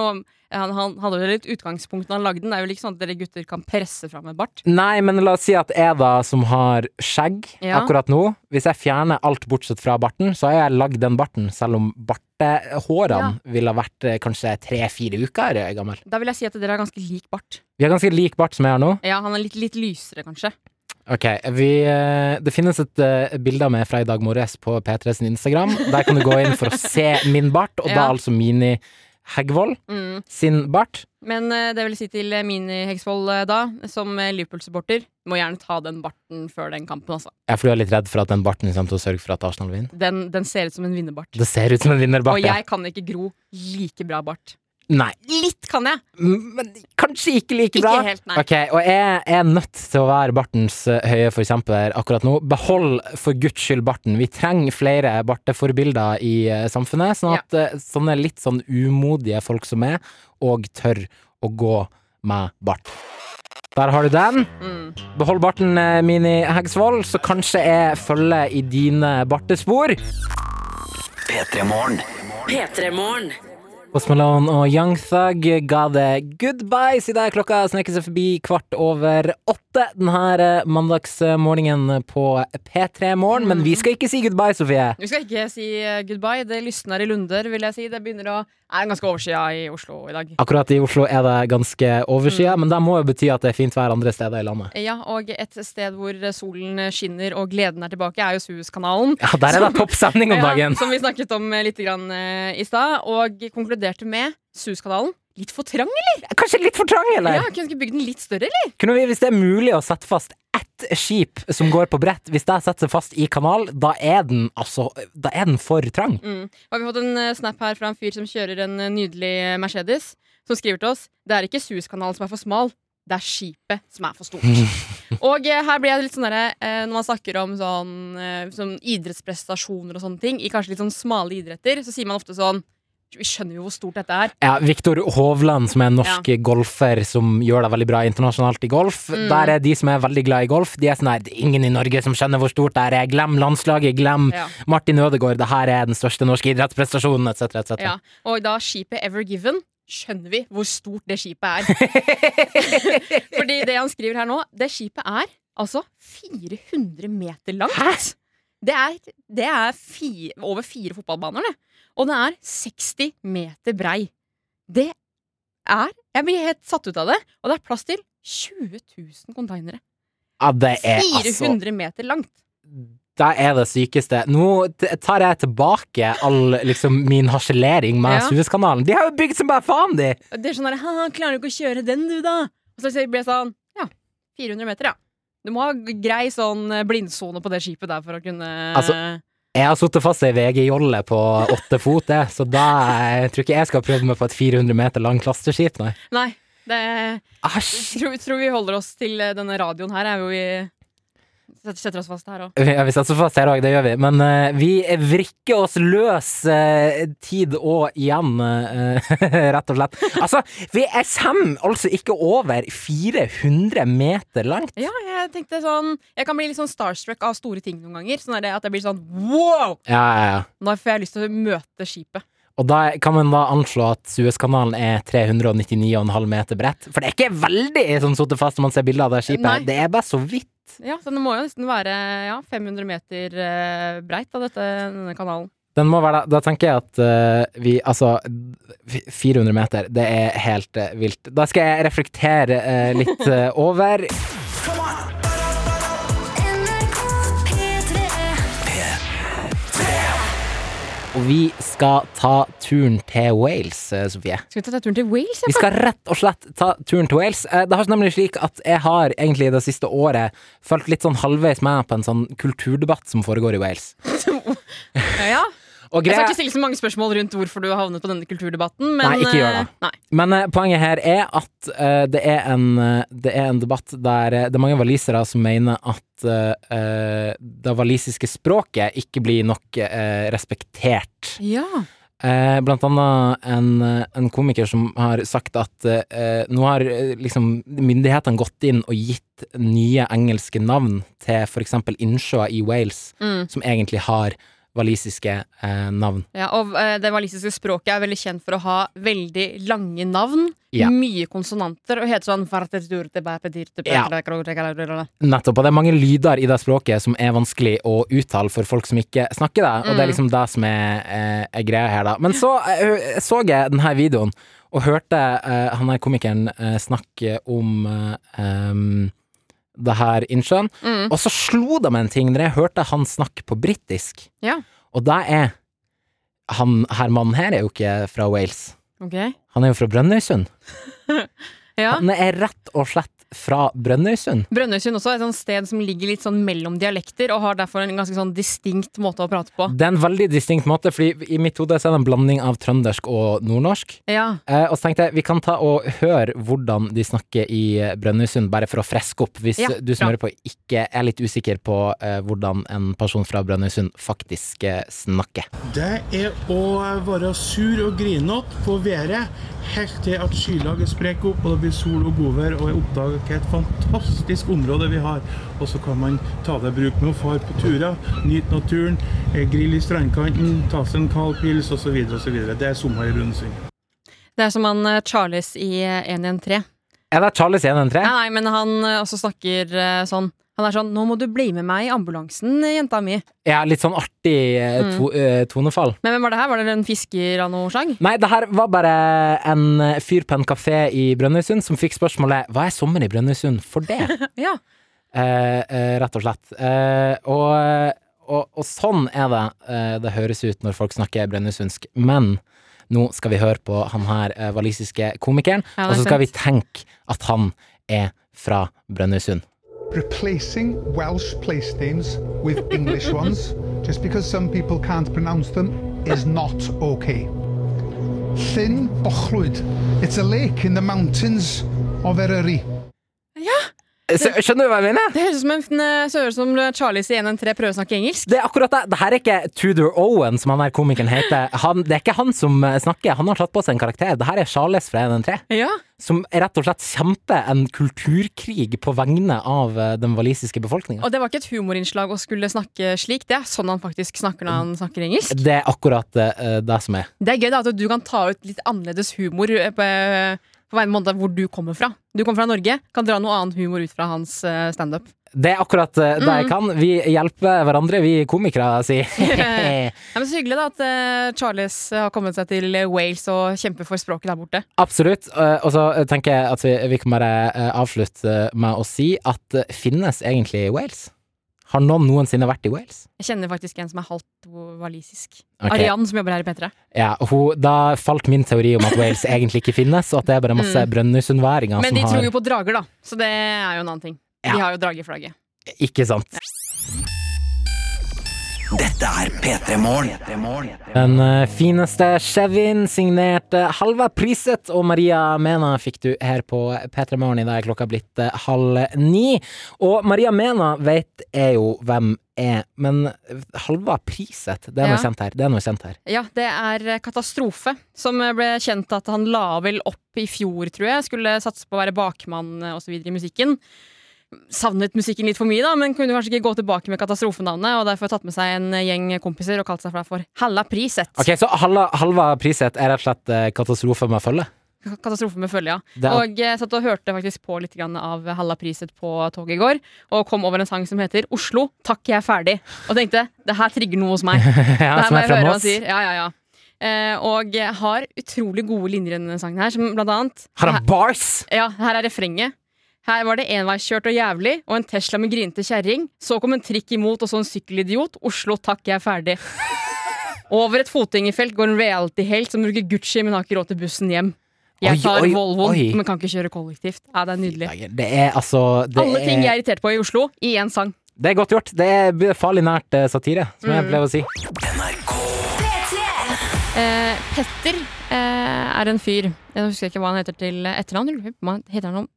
S3: han, han hadde jo litt utgangspunkt når han lagde den. Det er jo ikke sånn at dere gutter kan presse fram en bart.
S2: Nei, men la oss si at jeg da, som har skjegg
S3: Ja.
S2: akkurat nå Hvis jeg fjerner alt bortsett fra barten, så har jeg lagd den barten, selv om bartehårene ville ha vært eh, kanskje tre-fire uker eh, gammel.
S3: Da vil jeg si at dere har ganske lik bart.
S2: Vi har ganske lik bart som jeg har nå.
S3: Ja, Han er litt, litt lysere, kanskje.
S2: Ok, vi, eh, Det finnes et eh, bilde av meg fra i dag morges på P3 sin Instagram. Der kan du gå inn for å se min bart, og da
S3: [LAUGHS] Ja.
S2: altså Mini Hegvold
S3: Mm.
S2: sin bart.
S3: Men eh, det vil si til eh, Mini Hegsvold eh, da, som eh, Liverpool-supporter, må gjerne ta den barten før den kampen, altså.
S2: Jeg er fordi jeg er litt redd for at den barten kommer til å sørge for at Arsenal vinner.
S3: Den, den ser ut som en vinnerbart.
S2: Det ser ut som en vinnerbart.
S3: Og
S2: ja.
S3: jeg kan ikke gro like bra bart.
S2: Nei,
S3: Litt kan jeg!
S2: men kanskje ikke like
S3: Ikke
S2: bra.
S3: helt, nei.
S2: Ok, Og jeg er nødt til å være bartens eh, høye forkjemper akkurat nå. Behold for guds skyld barten. Vi trenger flere barteforbilder i eh, samfunnet, sånn at eh, sånne litt sånn umodige folk som meg, og tør å gå med bart. Der har du den.
S3: Mm.
S2: Behold barten, eh, Mini Hegsvold, så kanskje jeg følger i dine bartespor.
S7: P3-morgen.
S8: P3-morgen.
S2: Post Malone og Young Thug ga det goodbyes i dag. Klokka sneker seg forbi kvart over åtte denne eh, mandagsmorgenen på P3 Morgen. Men vi skal ikke si goodbye, Sofie.
S3: Vi skal ikke si eh, goodbye. Det lysner i lunder, vil jeg si. Det begynner å er ganske overskya i Oslo i dag.
S2: Akkurat i Oslo er det ganske overskya, men det må jo bety at det er fint vær andre steder i landet.
S3: Ja, og et sted hvor solen skinner og gleden er tilbake, er jo Suezkanalen.
S2: Ja, Der er det toppsending [LAUGHS] om dagen!
S3: som vi snakket om eh, litt grann, eh, i stad, og konkluderte med Suezkanalen. Litt for trang, eller?
S2: Kanskje litt for trang,
S3: Ja,
S2: eller?
S3: Kunne ikke bygd den litt større, eller?
S2: Kunne vi, Hvis det er mulig å sette fast ett skip som går på brett, hvis det setter seg fast i kanal, da er den altså Da er den for trang.
S3: Mm. Og vi har fått en eh, snap her fra en fyr som kjører en eh, nydelig eh, Mercedes, som skriver til oss Det er ikke Suezkanalen som er for smal, det er skipet som er for stort. og eh, her blir jeg litt sånn derre eh, Når man snakker om sånn, eh, sånn idrettsprestasjoner og sånne ting, i kanskje litt sånn smale idretter, så sier man ofte sånn Vi skjønner jo hvor stort dette er.
S2: Ja, Viktor Hovland, som er en norsk golfer som gjør det veldig bra internasjonalt i golf.
S3: Mm.
S2: Der er de som er veldig glad i golf, de er sånn her "Det er Ingen i Norge som skjønner hvor stort det her er. Glem landslaget, glem
S3: Ja.
S2: Martin Ødegaard, det her er den største norske idrettsprestasjonen, etc., etc.
S3: Ja. Og da skipet Ever Given skjønner vi hvor stort det skipet er.
S2: [LAUGHS]
S3: Fordi det han skriver her nå, det skipet er altså 400 meter langt. Det er, det er fi, over fire fotballbaner, det. Og det er 60 meter brei. Det er Jeg blir helt satt ut av det. Og det er plass til 20 000 konteinere.
S2: Ja, det er altså
S3: 400 meter langt.
S2: Det er det sykeste. Nå t- tar jeg tilbake all liksom, min harselering med
S3: Ja.
S2: Suezkanalen. De har jo bygd som bare faen, de!
S3: Og Det er sånn der, Haha, klarer du ikke å kjøre den, du, da? Og så ble jeg sånn Ja, 400 meter, ja. Du må ha grei sånn eh, blindsone på det skipet der for å kunne
S2: Altså- Jeg har sittet fast i ei VG-jolle på åtte fot, jeg, så da jeg tror ikke jeg skal prøve meg på et 400 meter langt lasteskip, nei.
S3: Nei. Det
S2: Æsj!
S3: tror, tror vi holder oss til eh, denne radioen her. Er jo vi setter- setter oss fast her òg.
S2: Ja, vi satser fast her òg, det gjør vi. Men eh, vi vrikker oss løs eh, tid og igjen, eh, [LAUGHS] rett og slett. Altså, vi er kommer altså ikke over 400 meter langt.
S3: Ja, jeg tenkte sånn Jeg kan bli litt sånn starstruck av store ting noen ganger. Sånn er det At jeg blir sånn wow!
S2: Ja, ja, ja.
S3: Nå får jeg lyst til å møte skipet.
S2: Og da kan man da anslå at Suezkanalen er 399,5 meter bredt. For det er ikke veldig sånn sittet fast når man ser bilder av det skipet.
S3: Nei.
S2: Det er bare så vidt.
S3: Ja, Så det må jo nesten være ja, 500 meter eh, breit av dette, denne kanalen.
S2: Den må være Da tenker jeg at eh, vi Altså, f- 400 meter, det er helt eh, vilt. Da skal jeg reflektere eh, litt eh, over. Og vi skal ta turen til Wales, eh, Sofie.
S3: Skal vi ta turen til Wales?
S2: Vi skal rett og slett ta turen til Wales. Eh, Det har seg nemlig slik at jeg har egentlig det siste året fulgt litt sånn halvveis med på en sånn kulturdebatt som foregår i Wales.
S3: Ja,
S2: Og
S3: Jeg skal
S2: greia,
S3: ikke stille så mange spørsmål rundt hvorfor du har havnet på denne kulturdebatten. Men,
S2: Nei, ikke gjør det.
S3: eh, Nei.
S2: men eh, poenget her er at eh, det, er en, eh, det er en debatt der eh, det er mange walisere som mener at eh, eh, det walisiske språket ikke blir nok eh, respektert.
S3: Ja.
S2: Eh, blant annet en, eh, en komiker som har sagt at eh, nå har eh, liksom myndighetene gått inn og gitt nye engelske navn til for eksempel innsjøer i Wales
S3: Mm.
S2: som egentlig har walisiske eh, navn.
S3: Ja, og eh, Det walisiske språket er veldig kjent for å ha veldig lange navn.
S2: Ja.
S3: Mye konsonanter og heter sånn
S2: Ja.
S3: ja.
S2: Nettopp. Og det er mange lyder i det språket som er vanskelig å uttale for folk som ikke snakker det, og det
S3: Mm.
S2: er liksom det som er, eh, er greia her, da. Men så eh, hø- så jeg denne videoen, og hørte eh, han her komikeren eh, snakke om eh, em, det her innsjøen,
S3: Mm.
S2: og så slo det meg en ting når jeg hørte han snakke på britisk,
S3: Ja.
S2: og det er han her mannen her er jo ikke fra Wales.
S3: Ok.
S2: Han er jo fra Brønnøysund.
S3: Ja.
S2: Han er rett og slett fra Brønnøysund.
S3: Brønnøysund også er et sånt sted som ligger litt sånn mellom dialekter, og har derfor en ganske sånn distinkt måte å prate på.
S2: Det er en veldig distinkt måte, fordi i mitt hode så er det en blanding av trøndersk og nordnorsk.
S3: Ja,
S2: Eh, og så tenkte jeg vi kan ta og høre hvordan de snakker i eh, Brønnøysund, bare for å freske opp, hvis
S3: Ja,
S2: eh, du som
S3: bra.
S2: hører på ikke er litt usikker på eh, hvordan en person fra Brønnøysund faktisk eh, snakker.
S8: Det er å være sur og grinete på været helt til at skylaget sprekker opp og det blir sol og godvær, og jeg oppdager hvilket fantastisk område vi har. Og så kan man ta det i bruk med å fare på turer, nyte naturen, eh, grille i strandkanten, ta seg en kald pils osv. osv. Det er sommer i Brunnesund.
S3: Det er som han eh, Charles i eh, 113.
S2: Er det Charles 113?
S3: Nei, nei, men han eh, også snakker eh, sånn. Han er sånn 'Nå må du bli med meg i ambulansen, eh, jenta mi'.
S2: Ja, litt sånn artig eh,
S3: Mm.
S2: to, eh, tonefall.
S3: Men hvem var det her? Var det en fisker av noe slag?
S2: Nei, det her var bare en eh, fyr på en kafé i Brønnøysund som fikk spørsmålet Hva er sommer i Brønnøysund for det?
S3: [LAUGHS] Ja.
S2: Eh, eh, rett og slett. Eh, og, og, og sånn er det eh, det høres ut når folk snakker brønnøysundsk. Men nå skal vi høre på han her eh, walisiske komikeren,
S3: Ja, det er
S2: og så skal vi
S3: fint.
S2: tenke at han er fra Brønnøysund.
S9: replacing Welsh place names with English ones, just because some people can't pronounce them, is not okay. Llyn Bochlwyd. It's a lake in the mountains of Eryri.
S2: Eh, skj- Skjønner du hva jeg mener?
S3: Det høres ut som, en- eh, så høres ut som Charles i 113 prøver å snakke engelsk.
S2: Det er akkurat det. Det her er ikke Tudor Owen, som han her komikeren heter. Han, det er ikke han som eh, snakker, han har tatt på seg en karakter. Det her er Charles fra 113.
S3: Ja.
S2: Som rett og slett kjemper en kulturkrig på vegne av eh, den walisiske befolkninga.
S3: Og det var ikke et humorinnslag å skulle snakke slik. Det er sånn han faktisk snakker når han snakker engelsk.
S2: Det er akkurat eh, det som er.
S3: Det er gøy da at du kan ta ut litt annerledes humor eh, på, på hver måte hvor du kommer fra. Du kommer fra Norge, kan dra noe annen humor ut fra hans eh, standup.
S2: Det er akkurat eh, det
S3: Mm.
S2: jeg kan. Vi hjelper hverandre, vi komikere, si.
S3: [LAUGHS] Ja, men så hyggelig da at eh, Charles har kommet seg til Wales og kjemper for språket der borte.
S2: Absolutt. eh, Og så tenker jeg at vi, vi kan bare eh, avslutte med å si at eh, finnes egentlig Wales? Har noen noensinne vært i Wales?
S3: Jeg kjenner faktisk en som er halvt walisisk.
S2: Ok.
S3: Arian, som jobber her i P3.
S2: Ja, hun, da falt min teori om
S3: [LAUGHS]
S2: at Wales egentlig ikke finnes, og at det er bare masse brønnøysundværinger
S3: Mm. Men
S2: som
S3: de tror
S2: har
S3: jo på drager, da. Så det er jo en annen ting.
S2: Ja.
S3: De har jo drageflagget.
S2: Ikke sant.
S7: Dette er P3 Morgen.
S2: Den eh, fineste Chevyen, signert eh, Halva Priset og Maria Mena, fikk du her på P3 Morgen i dag. er Klokka blitt eh, halv ni. Og Maria Mena vet jeg jo hvem er, men eh, Halva Priset, det er noe
S3: Ja.
S2: kjent her. Det er noe kjent her.
S3: Ja, det er eh, Katastrofe, som eh, ble kjent at han la vel opp i fjor, tror jeg. Skulle satse på å være bakmann eh, og så videre i musikken. Savnet musikken litt for mye, da, men kunne kanskje ikke gå tilbake med katastrofenavnet, og derfor tatt med seg en eh, gjeng kompiser og kalt seg for, for Halla Priset.
S2: Ok, Så Halva, halva Priset er rett og slett eh, katastrofe med følge? [LAUGHS]
S3: Ka- Katastrofe med følge, ja.
S2: Det er-
S3: Og eh, satt og hørte faktisk på litt grann av Halla Priset på toget i går, og kom over en sang som heter 'Oslo, takk, jeg er ferdig', og tenkte 'det her trigger noe hos meg'.
S2: ja,
S3: Det her
S2: som
S3: må
S2: er
S3: jeg høre
S2: fra
S3: hva han
S2: Moss.
S3: sier. Ja, ja, ja. Eh, og har utrolig gode linjer i denne sangen her, som blant annet
S2: Har han bars?
S3: ja, Her er refrenget. Her var det enveiskjørt og jævlig, og en Tesla med grinete kjerring. Så kom en trikk imot, og så en sykkelidiot. Oslo, takk, jeg er
S2: [LAUGHS]
S3: ferdig. Over et fotgjengerfelt går en reality-helt som bruker Gucci, men har ikke råd til bussen hjem. Jeg
S2: Oi,
S3: tar
S2: oi,
S3: Volvoen,
S2: oi.
S3: men kan ikke kjøre kollektivt. Ja, det er nydelig.
S2: Det er altså det
S3: Alle ting jeg
S2: er,
S3: er irritert på i Oslo, i én sang.
S2: det er godt gjort. Det er farlig nært eh, satire, som
S3: Mm.
S2: jeg pleier å si.
S3: Eh, Petter eh, er en fyr. Jeg husker ikke hva han heter til etternavn. Lurer på om han- Heter han noe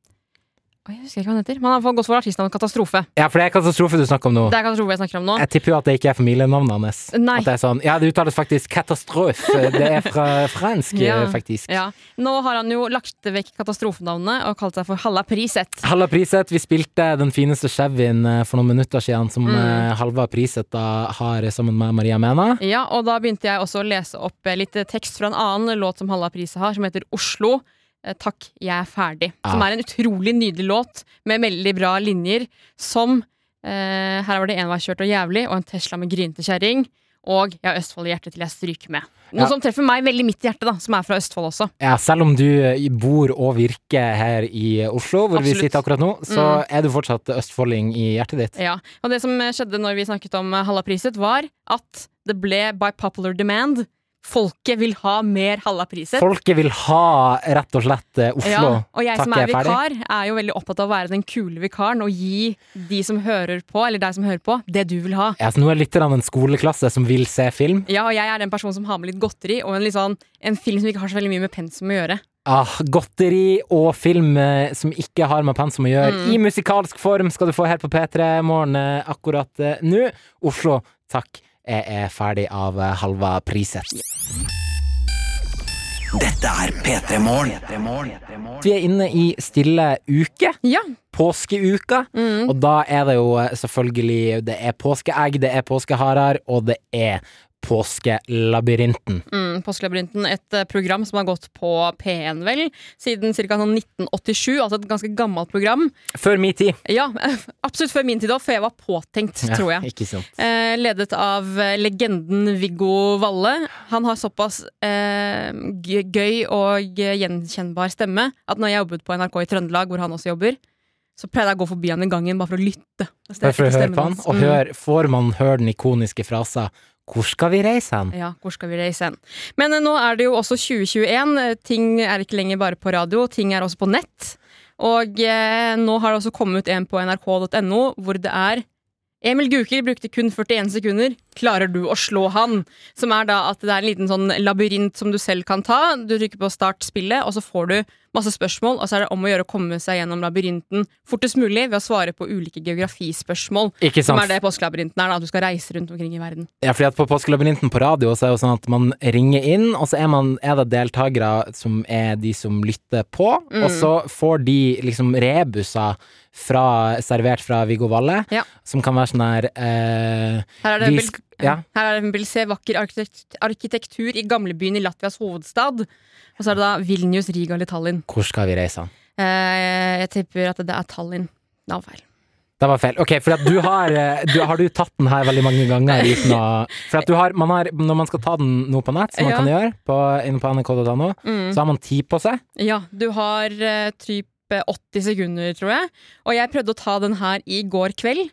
S3: Oi, jeg husker ikke hva han heter. Men han har fått godt for artistnavnet Katastrofe.
S2: Ja, for det er katastrofe du snakker om nå.
S3: Det er Katastrofe jeg snakker om nå.
S2: Jeg tipper jo at det ikke er familienavnet hans.
S3: Ah. Nei.
S2: At det er sånn, ja, det uttales faktisk katastrofe. Det er fra
S3: [LAUGHS]
S2: fransk,
S3: Ja.
S2: faktisk.
S3: Ja. Nå har han jo lagt vekk katastrofenavnet og kalt seg for Halla Priset.
S2: Halla Priset, vi spilte Den fineste Chevyen eh, for noen minutter siden, som
S3: Mm.
S2: eh, Halva Priset da har sammen med Maria Mena.
S3: Ja, og da begynte jeg også å lese opp eh, litt tekst fra en annen låt som Halla Priset har, som heter Oslo. eh, Takk, jeg er ferdig. Som
S2: Ja.
S3: er en utrolig nydelig låt med veldig bra linjer som eh, Her var det enveiskjørt og jævlig, og en Tesla med grynete kjerring. Og Jeg har Østfold i hjertet til jeg stryker med. Noe
S2: Ja.
S3: som treffer meg veldig midt i hjertet, da, som er fra Østfold også.
S2: Ja, selv om du eh, bor og virker her i Oslo, hvor
S3: Absolutt. Mm.
S2: vi sitter akkurat nå, så er du fortsatt østfolding i hjertet ditt.
S3: Ja, og det som eh, skjedde når vi snakket om eh, Hallapriset var at det ble by popular demand. Folket vil ha mer Hallapriset.
S2: Folket vil ha rett og slett eh,
S3: Ja,
S2: Oslo.
S3: og jeg
S2: Takk,
S3: som er
S2: jeg er ferdig.
S3: vikar, er jo veldig opptatt av å være den kule vikaren og gi de som hører på, eller deg som hører på, det du vil ha.
S2: Ja, så nå er litt av en skoleklasse som vil se film.
S3: Ja, og jeg er den personen som har med litt godteri og en, litt sånn, en film som ikke har så veldig mye med pensum å gjøre.
S2: Ah, godteri og film eh, som ikke har med pensum å gjøre.
S3: Mm.
S2: I musikalsk form skal du få her på P3 morgen eh, akkurat eh, nå. Oslo, takk. Jeg er ferdig av eh, halva priset.
S7: Dette er P3 Morgen.
S2: Vi er inne i stille uke.
S3: Ja,
S2: Påskeuka.
S3: Mm.
S2: Og da er det jo eh, selvfølgelig Det er påskeegg, det er påskeharer, og det er Påskelabyrinten.
S3: mm, Påskelabyrinten, et eh, program som har gått på P1 vel, siden ca. 1987, altså et ganske gammelt program.
S2: Før min tid.
S3: Ja, [LAUGHS] absolutt før min tid òg, før jeg var påtenkt, tror jeg.
S2: [LAUGHS] Ikke sant.
S3: Eh, ledet av eh, legenden Viggo Valle. Han har såpass eh, g- gøy og eh, gjenkjennbar stemme at når jeg jobbet på NRK i Trøndelag, hvor han også jobber, så pleide jeg å gå forbi han i gangen bare for å lytte. Altså, Så
S2: Bare for å
S3: etter
S2: høre
S3: stemmen
S2: på han.
S3: hans.
S2: Og
S3: Mm.
S2: hør, får man høre den ikoniske frasa 'Hvor skal vi reise hen?'
S3: Ja, hvor skal vi reise hen? Men eh, nå er det jo også 2021. Eh, Ting er ikke lenger bare på radio, ting er også på nett. Og eh, nå har det også kommet ut en på nrk.no hvor det er Emil Gukild brukte kun 41 sekunder. Klarer du å slå han? Som er da at det er en liten sånn labyrint som du selv kan ta. Du trykker på start spillet, og så får du masse spørsmål. Og så er det om å gjøre å komme seg gjennom labyrinten fortest mulig ved å svare på ulike geografispørsmål.
S2: Ikke
S3: Som
S2: sant?
S3: er det påskelabyrinten er, da. At du skal reise rundt omkring i verden.
S2: Ja, fordi at på Påskelabyrinten på radio så er det jo sånn at man ringer inn, og så er, man, er det deltakere som er de som lytter på,
S3: Mm.
S2: og så får de liksom rebuser fra, servert fra Viggo Valle,
S3: Ja.
S2: som kan være sånn her eh,
S3: Her er det
S2: vi
S3: vel
S2: sk- ja.
S3: Her er det en vil se vakker arkitekt arkitektur i gamlebyen i Latvias hovedstad. Og så er det da Vilnius, Riga eller Tallinn.
S2: Hvor skal vi reise? han?
S3: Eh, jeg tipper at det er Tallinn. Navnfeil.
S2: Det var feil. Ok, for at du har, eh, du, har du tatt den her veldig mange ganger uten å For at du har, man har, når man skal ta den nå på nett, som man
S3: Ja.
S2: kan gjøre på, inne på nrk.no,
S3: Mm.
S2: så har man tid på seg.
S3: Ja, du har eh, typ 80 sekunder, tror jeg. Og jeg prøvde å ta den her i går kveld.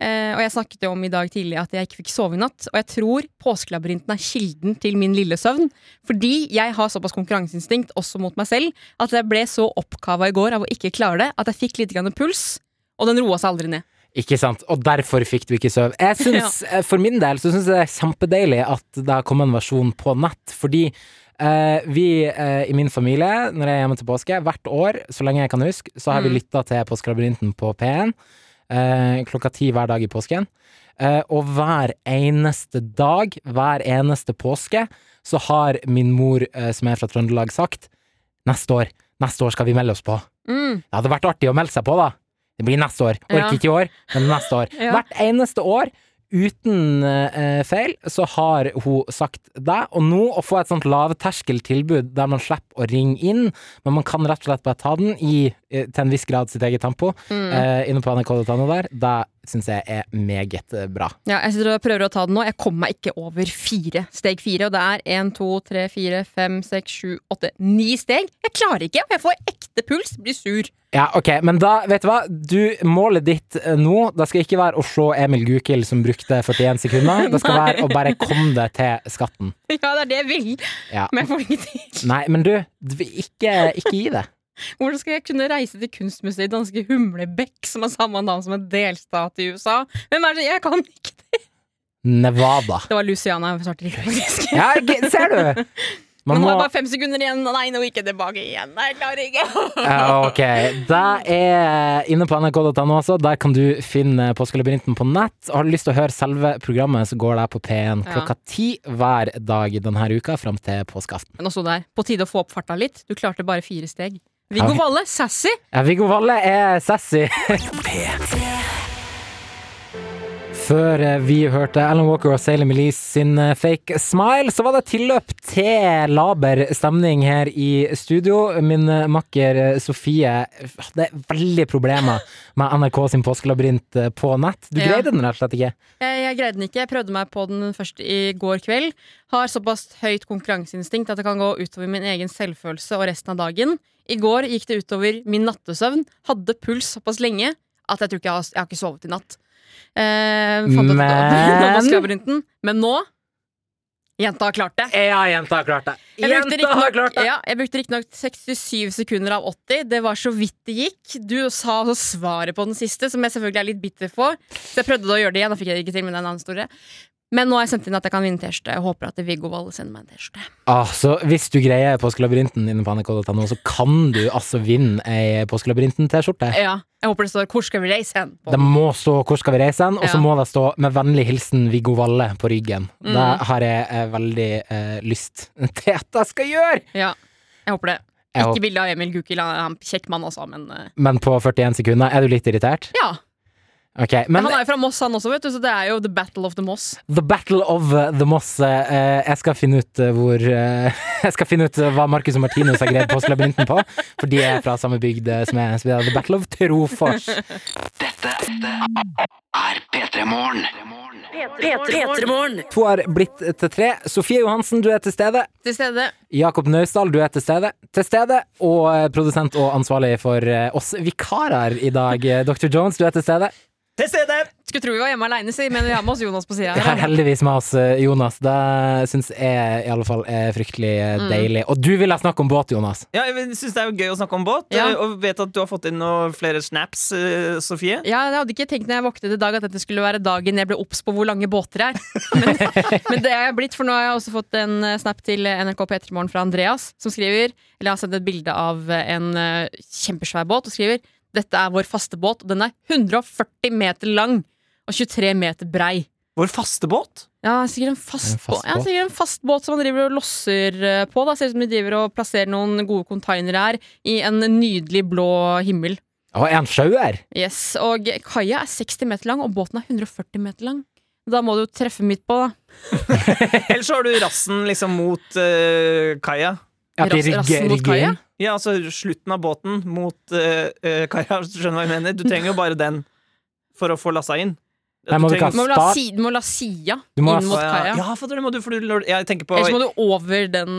S3: Eh, og jeg snakket jo om i dag tidlig at jeg ikke fikk sove i natt. Og jeg tror påskelabyrinten er kilden til min lille søvn. Fordi jeg har såpass konkurranseinstinkt, også mot meg selv, at jeg ble så oppkava i går av å ikke klare det, at jeg fikk litt grann puls. Og den roa seg aldri ned.
S2: Ikke sant, og derfor fikk du ikke sove. Jeg synes, eh, For min del så syns jeg det er kjempedeilig at det har kommet en versjon på nett, fordi eh, vi eh, i min familie, når jeg er hjemme til påske, hvert år, så lenge jeg kan huske, så har vi
S3: Mm.
S2: lytta til Påskelabyrinten på P1 eh, klokka ti hver dag i påsken. Eh, og hver eneste dag, hver eneste påske, så har min mor, eh, som er fra Trøndelag, sagt neste år, neste år skal vi melde oss på.
S3: Mm.
S2: Det hadde vært artig å melde seg på, da. Det blir neste år. Orker
S3: Ja.
S2: ikke i år, men neste år.
S3: [LAUGHS] Ja.
S2: Hvert eneste år, uten eh, feil, så har hun sagt det. Og nå å få et sånt lavterskeltilbud der man slipper å ringe inn, men man kan rett og slett bare ta den i eh, til en viss grad sitt eget tempo,
S3: Mm.
S2: eh, inne på nrk.no der, det syns jeg er meget eh, bra.
S3: Ja, jeg sitter og prøver å ta den nå. Jeg kommer meg ikke over fire. Steg fire, og det er én, to, tre, fire, fem, seks, sju, åtte, ni steg. Jeg klarer ikke, og jeg får ekte puls. Blir sur. [LAUGHS]
S2: Ja, ok, men da, vet du hva? Du, målet ditt eh, nå, det skal ikke være å se Emil Gukild som brukte 41 sekunder, det
S3: [LAUGHS]
S2: skal være å bare komme deg til skatten.
S3: Ja, det er det jeg vil,
S2: Ja.
S3: men jeg får det ikke til.
S2: Nei, men du, d- ikke, ikke gi det.
S3: Hvordan skal jeg kunne reise til kunstmuseet i danske Humlebekk, som har samme navn som en delstat i USA? Hvem er det? Jeg kan ikke det.
S2: Nevada.
S3: Det var Luciana jeg svarte riktig, faktisk.
S2: Ja, g- ser du! Man
S3: Nå
S2: må
S3: har jeg bare fem sekunder igjen. Nei, nå gikk jeg tilbake igjen. Nei, jeg klarer ikke. [LAUGHS]
S2: Ja, Ok, det er inne på nrk.no også. Der kan du finne Påskelabyrinten på nett. Og Har du lyst til å høre selve programmet, så går det på
S3: Ja.
S2: P1 klokka ti hver dag denne uka fram til påskeaften.
S3: Men nå sto det her. På tide å få opp farta litt. Du klarte bare fire steg. Viggo
S2: Ok.
S3: Valle, sassy.
S2: Ja, Viggo Valle er sassy. [LAUGHS] Før eh, vi hørte Alan Walker og Sailor Melise sin eh, fake smile, så var det tilløp til laber stemning her i studio. Min eh, makker eh, Sofie hadde veldig problemer med NRK sin påskelabyrint eh, på nett. Du
S3: Ja.
S2: greide den rett og slett ikke.
S3: Jeg, jeg greide den ikke. Jeg prøvde meg på den først i går kveld. Har såpass høyt konkurranseinstinkt at det kan gå utover min egen selvfølelse og resten av dagen. I går gikk det utover min nattesøvn. Hadde puls såpass lenge at jeg tror ikke jeg har, jeg har ikke sovet i natt. Eh, fant ut at [LAUGHS] det var-
S2: Men-
S3: på Skravlerynten. Men nå Jenta har klart det.
S2: Ja, jenta har klart det!
S3: Jeg brukte
S2: Jenta har
S3: riktignok
S2: klart det!
S3: ja, jeg brukte riktignok 67 sekunder av 80. Det var så vidt det gikk. Du sa også svaret på den siste, som jeg selvfølgelig er litt bitter for. Så jeg prøvde da å gjøre det igjen. Da fikk jeg det ikke til, men det er en annen historie. Men nå har jeg sendt inn at jeg kan vinne T-skjorte. Jeg håper at Viggo Valle sender meg en T-skjorte.
S2: Ah, så hvis du greier Påskelabyrinten inne på nrk.no, så kan du altså vinne ei Påskelabyrinten-T-skjorte.
S3: Ja, jeg håper det står 'Hvor skal vi reise hen?' på
S2: Det
S3: den.
S2: må stå 'Hvor skal vi reise hen?', og så
S3: Ja.
S2: må det stå 'Med vennlig hilsen Viggo Valle' på ryggen.
S3: Mm.
S2: Det har jeg eh, veldig eh, lyst [LAUGHS] til at jeg skal gjøre!
S3: Ja, jeg håper det.
S2: Jeg
S3: Ikke
S2: håper-
S3: bilde av Emil Gukild, han er en kjekk mann altså, men eh,
S2: Men på 41 sekunder er du litt irritert?
S3: ja.
S2: Ok, Men
S3: han er jo fra Moss, han også, vet du, så det er jo the battle of the Moss.
S2: The Battle of eh, the Moss eh, Jeg skal finne ut eh, hvor eh, [LAUGHS] Jeg skal finne ut eh, hva Marcus og Martinus har greid Påskelabyrinten på, for de er fra samme bygd eh, som jeg. Så vi har The Battle of Trofors.
S7: er P3 Morgen.
S2: To har blitt til tre. Sofie Johansen, du er til stede.
S3: Til stede.
S2: Jakob Naustdal, du er til stede. Til stede. Og eh, produsent og ansvarlig for eh, oss vikarer i dag, eh, Dr. Jones, du er til stede.
S4: Til stede!
S3: Skulle tro vi var hjemme aleine, si, men vi har med oss Jonas på sida
S2: Vi har
S3: her.
S2: heldigvis med oss eh, Jonas. Det syns jeg i alle fall er fryktelig eh,
S4: Mm.
S2: deilig. Og du ville snakke om båt, Jonas.
S4: Ja, jeg syns det er jo gøy å snakke om båt,
S3: Ja.
S4: og vet at du har fått inn noen flere snaps, eh, Sofie.
S3: Ja, jeg hadde ikke tenkt når jeg våknet i dag at dette skulle være dagen jeg ble obs på hvor lange båter er. Men, [LAUGHS] men det er jeg blitt, for nå har jeg også fått en eh, snap til eh, NRK P3 Morgen fra Andreas, som skriver Eller har sendt et bilde av eh, en eh, kjempesvær båt og skriver Dette er vår faste båt, og den er 140 meter lang og 23 meter brei.
S4: Vår faste båt.
S3: Ja, sikkert en fast,
S2: En fast
S3: båt. Ja,
S2: båt.
S3: sikkert en fast båt som man driver og losser eh, på. Da. Ser ut som de driver og plasserer noen gode containere her i en nydelig blå himmel.
S2: Og er han sjauer?
S3: Yes, og kaia er 60 meter lang, og båten er 140 meter lang. Da må du jo treffe midt på, da.
S4: Eller så har du rassen liksom mot eh, kaia.
S2: At de
S3: Rass- rassen
S2: rygger,
S3: mot
S2: rygger
S3: kaia?
S2: inn?
S4: Ja, altså slutten av båten mot eh, eh, kaia. hvis Du skjønner hva jeg mener? Du trenger jo bare den for å få lassa inn.
S2: Nei, må du ikke
S3: Du må vel ha,
S2: Start.
S3: si, du må la sida
S2: Du må ha-
S3: inn mot kaia.
S4: Ja, for det må du, for du jeg tenker på
S3: Ellers må du over den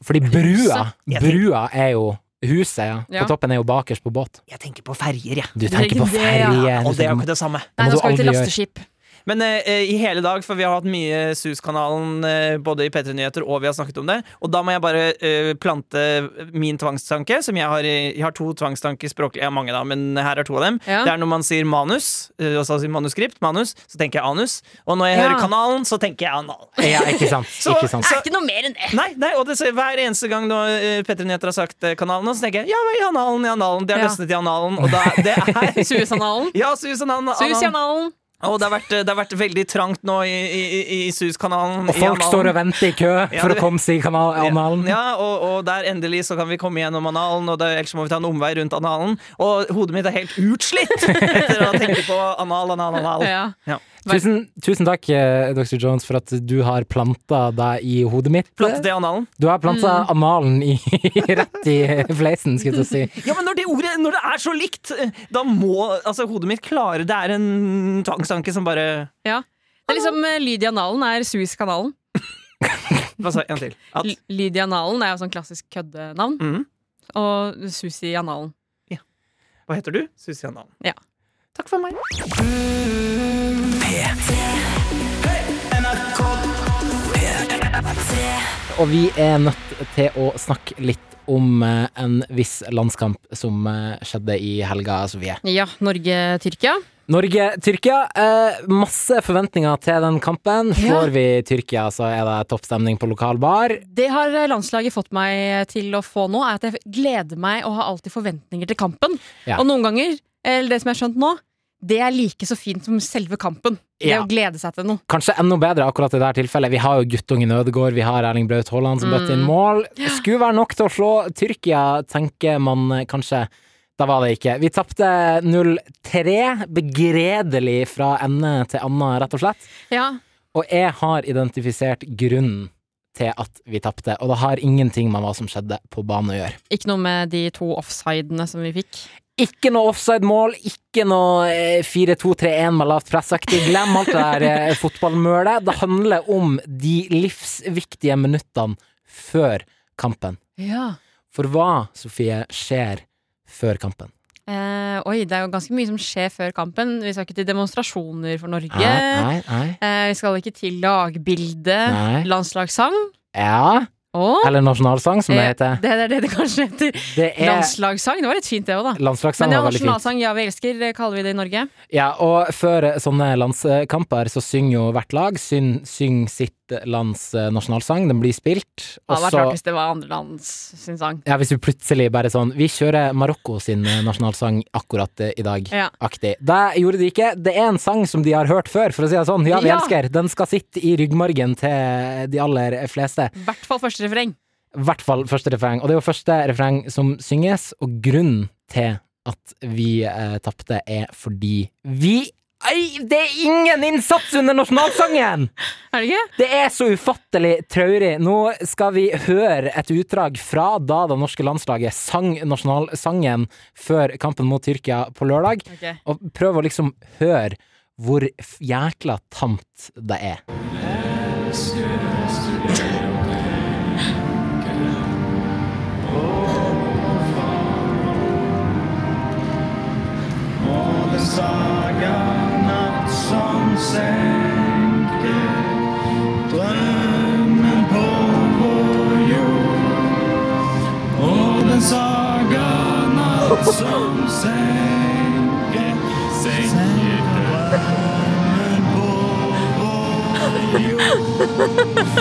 S2: Fordi brua,
S4: Jeg tenker-
S2: brua er jo Huset ja.
S3: Ja.
S2: på toppen er jo bakerst på båt.
S4: Jeg tenker på ferjer, jeg.
S2: Du tenker på
S3: Det er ikke det,
S2: ferje.
S4: Og det er jo ikke det samme.
S3: Nei,
S2: må
S3: nå
S2: du
S3: skal vi til
S2: aldri gjøre.
S3: lasteskip.
S4: Men eh, eh, i hele dag, for vi har hatt mye Sus-kanalen eh, både i P3 Nyheter og vi har snakket om det, og da må jeg bare eh, plante min tvangstanke, som jeg har, i- jeg har to tvangstanker språklig, jeg har mange da, men her er to av dem.
S3: Ja.
S4: Det er når man sier manus, eh, altså sier manuskript, manus, så tenker jeg anus, og når jeg
S3: Ja.
S4: hører kanalen, så tenker jeg
S3: [LAUGHS]
S4: anal.
S2: Ja, ikke sant.
S4: [LAUGHS] Så-
S2: ikke sant.
S3: Det er ikke noe mer enn det!
S4: Nei, nei, og det, så hver eneste gang nå, eh, P3 Nyheter har sagt eh, kanalen, nå, så tenker jeg, ja, i analen, i analen, det har
S3: Ja.
S4: løsnet i analen, og da, det er... [LAUGHS]
S3: Suezanalen.
S4: [LAUGHS] Ja, Sus analen.
S3: Suezanalen.
S4: Og det har, vært, det har vært veldig trangt nå i, i, i- i Sus-kanalen.
S2: Og folk står og venter i kø
S4: Ja,
S2: for
S4: du-
S2: å komme seg i kanal- analen.
S4: Ja, og, og der endelig så kan vi komme gjennom analen, og det, ellers må vi ta en omvei rundt analen. Og hodet mitt er helt utslitt [LAUGHS] etter å ha tenkt på anal, anal, anal.
S3: Ja.
S2: Tusen, tusen takk, eh, Dr. Jones, for at du har planta deg i hodet mitt.
S4: Plantet det i analen?
S2: Du har planta analen i, [LAUGHS] rett i fleisen, skulle jeg til å si.
S4: Ja, men når det ordet når det er så likt, da må altså hodet mitt klare Det er en tvangstanke som bare
S3: ja. Det er liksom eh, Lydianalen er Suezkanalen.
S4: Hva sa jeg? En til. At,
S3: L- Lydianalen er jo sånn klassisk køddenavn.
S4: Mhm.
S3: Og Susianalen.
S4: hva heter du? Susi Analen.
S3: Ja.
S4: Takk for meg.
S2: Og vi er nødt til å snakke litt om eh, en viss landskamp som eh, skjedde i helga, Altså, Sofie.
S3: Ja, Norge-Tyrkia.
S2: Norge-Tyrkia. Eh, masse forventninger til den kampen.
S3: Ja.
S2: Slår vi Tyrkia, så er det toppstemning på lokal bar.
S3: Det har landslaget fått meg til å få nå, er at jeg gleder meg og har alltid forventninger til kampen.
S2: Ja.
S3: Og noen ganger, eller det som jeg har skjønt nå, det er like så fint som selve kampen. Det
S2: Ja.
S3: å glede seg til noe.
S2: Kanskje enda bedre akkurat i dette tilfellet. Vi har jo guttungen Ødegaard, vi har Erling Braut Haaland som bøtte inn mål. Skulle være nok til å slå Tyrkia, tenker man eh, kanskje. Da var det ikke. Vi tapte 0-3, begredelig fra ende til anna, rett og slett.
S3: Ja,
S2: Og jeg har identifisert grunnen til at vi tapte, og det har ingenting med hva som skjedde på banen å gjøre.
S3: Ikke noe med de to offsidene som vi fikk.
S2: Ikke noe offside-mål, ikke noe eh, 4-2-3-1 med lavt pressaktig. Glem alt det der
S3: [LAUGHS]
S2: eh, fotballmølet. Det handler om de livsviktige minuttene før kampen.
S3: Ja.
S2: For hva, Sofie, skjer før kampen?
S3: Eh, oi, det er jo ganske mye som skjer før kampen. Vi skal ikke til demonstrasjoner for Norge.
S2: Nei, nei, nei.
S3: Eh, vi skal ikke til lagbilde,
S2: Nei.
S3: landslagssang
S2: Ja.
S3: og
S2: Eller nasjonalsang, som det
S3: Eh,
S2: heter.
S3: Det er det det kanskje heter.
S2: Det er
S3: Landslagssang. Det var litt fint, det òg, da. Men
S2: Eh. Landslagssang
S3: det
S2: var
S3: er
S2: veldig fint.
S3: nasjonalsang Ja, vi elsker, eh, kaller vi det i Norge.
S2: Ja, og før sånne landskamper så synger jo hvert lag syng, syng sitt lands eh, nasjonalsang. Den blir spilt.
S3: Det
S2: Og
S3: hadde vært
S2: så
S3: rart hvis det var andre lands sin sang.
S2: ja, Hvis vi plutselig bare sånn Vi kjører Marokko sin eh, nasjonalsang akkurat eh, i dag.
S3: Ja.
S2: Aktig. Det gjorde de ikke. Det er en sang som de har hørt før, for å si det sånn. Ja, vi
S3: Ja.
S2: elsker. Den skal sitte i ryggmargen til de aller fleste.
S3: I hvert fall første refreng.
S2: I hvert fall første refreng. Og det er jo første refreng som synges, og grunnen til at vi eh, tapte, er fordi vi Ei, det er ingen innsats under nasjonalsangen!
S3: Er det ikke?
S2: Det er så ufattelig traurig. Nå skal vi høre et utdrag fra da det norske landslaget sang nasjonalsangen før kampen mot Tyrkia på lørdag, og prøve å liksom høre hvor f- jækla tamt det er.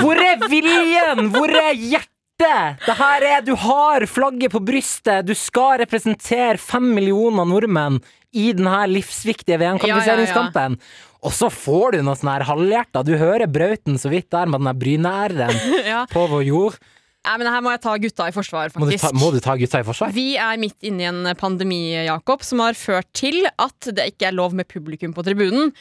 S2: Hvor er viljen? Hvor er hjertet? Det her er Du har flagget på brystet. Du skal representere fem millioner nordmenn i denne livsviktige VM-kvalifiseringskampen. Og så får du noe sånn her halvhjerta. Du hører Brauten så vidt der med den der bryneæren
S3: [LAUGHS] Ja.
S2: på vår jord.
S3: Nei, men her må jeg ta gutta i forsvar,
S2: Må du ta,
S3: faktisk.
S2: må du ta gutta i forsvar?
S3: Vi er midt inne i en pandemi, Jakob, som har ført til at det ikke er lov med publikum på tribunen.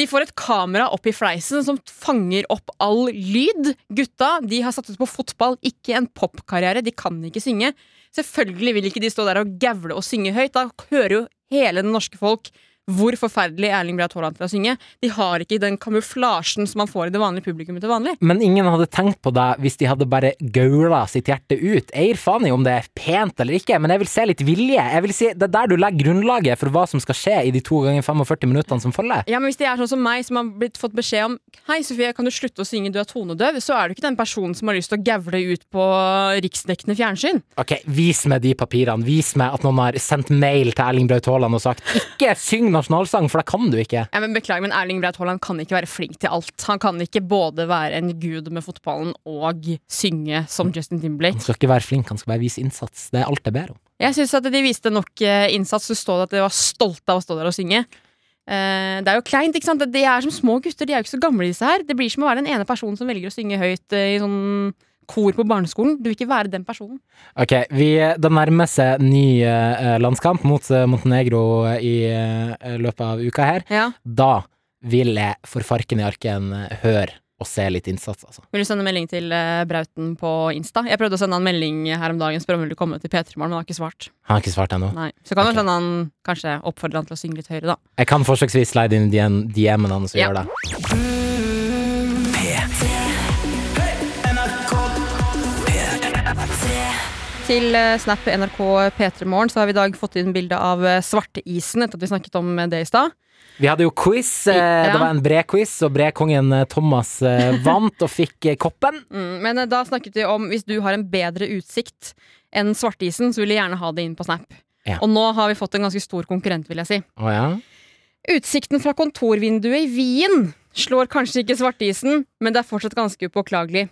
S3: De får et kamera opp i fleisen som fanger opp all lyd. Gutta de har satset på fotball, ikke en popkarriere. De kan ikke synge. Selvfølgelig vil ikke de stå der og gavle og synge høyt. Da hører jo hele det norske folk hvor forferdelig Erling Braut Haaland til å synge. De har ikke den kamuflasjen som man får i det vanlige publikummet til vanlig.
S2: Men ingen hadde tenkt på det hvis de hadde bare gaula sitt hjerte ut. Jeg gir faen i om det er pent eller ikke, men jeg vil se litt vilje. Jeg vil si, Det er der du legger grunnlaget for hva som skal skje i de to ganger 45 minuttene som følger.
S3: Ja, men Hvis det er sånn som meg, som har blitt fått beskjed om Hei Sofie, kan du slutte å synge, du er tonedøv, så er du ikke den personen som har lyst til å gavle ut på riksdekkende fjernsyn.
S2: Ok, Vis meg de papirene. Vis meg at noen har sendt mail til Erling Braut Haaland og sagt 'ikke syng nasjonalsang', for det kan du ikke.
S3: Ja, men Beklager, men Erling Braut Haaland kan ikke være flink til alt. Han kan ikke både være en gud med fotballen og synge som Justin
S2: Han
S3: Timberlake.
S2: skal ikke være flink, han skal bare vise innsats. Det er alt jeg ber om.
S3: Jeg syns at de viste nok eh, innsats. Du stod at de var stolte av å stå der og synge. Eh, det er jo kleint, ikke sant? De er som små gutter, de er jo ikke så gamle, disse her. Det blir som å være den ene personen som velger å synge høyt eh, i sånn kor på barneskolen. Du vil ikke være den personen.
S2: Ok, vi, Det nærmer seg ny eh, landskamp mot eh, Montenegro i eh, løpet av uka her.
S3: Ja.
S2: Da vil jeg for farken i arken eh, høre og se litt innsats, altså.
S3: Vil du sende melding til eh, Brauten på Insta? Jeg prøvde å sende han melding her om dagen, spør om han ville komme til P3 Morgen, men han har ikke svart.
S2: Han har ikke svart ennå.
S3: Nei. Så kan du
S2: Ok.
S3: sende han, kanskje oppfordre han til å synge litt høyere, da.
S2: Jeg kan forsøksvis slide inn DM- DM-en hans og
S3: Ja.
S2: gjøre det.
S3: Til eh, Snap NRK P3 Morgen så har vi i dag fått inn bilde av eh, svarteisen, etter at vi snakket om eh, det i stad.
S2: Vi hadde jo quiz. eh,
S3: Ja.
S2: Det var en Bre-quiz, og Bre-kongen eh, Thomas eh, vant og fikk eh, koppen.
S3: Mm, Men eh, da snakket vi om hvis du har en bedre utsikt enn svartisen, så vil jeg gjerne ha det inn på Snap.
S2: Ja.
S3: Og nå har vi fått en ganske stor konkurrent, vil jeg si.
S2: Å ja.
S3: Utsikten fra kontorvinduet i Wien slår kanskje ikke svartisen, men det er fortsatt ganske upåklagelig.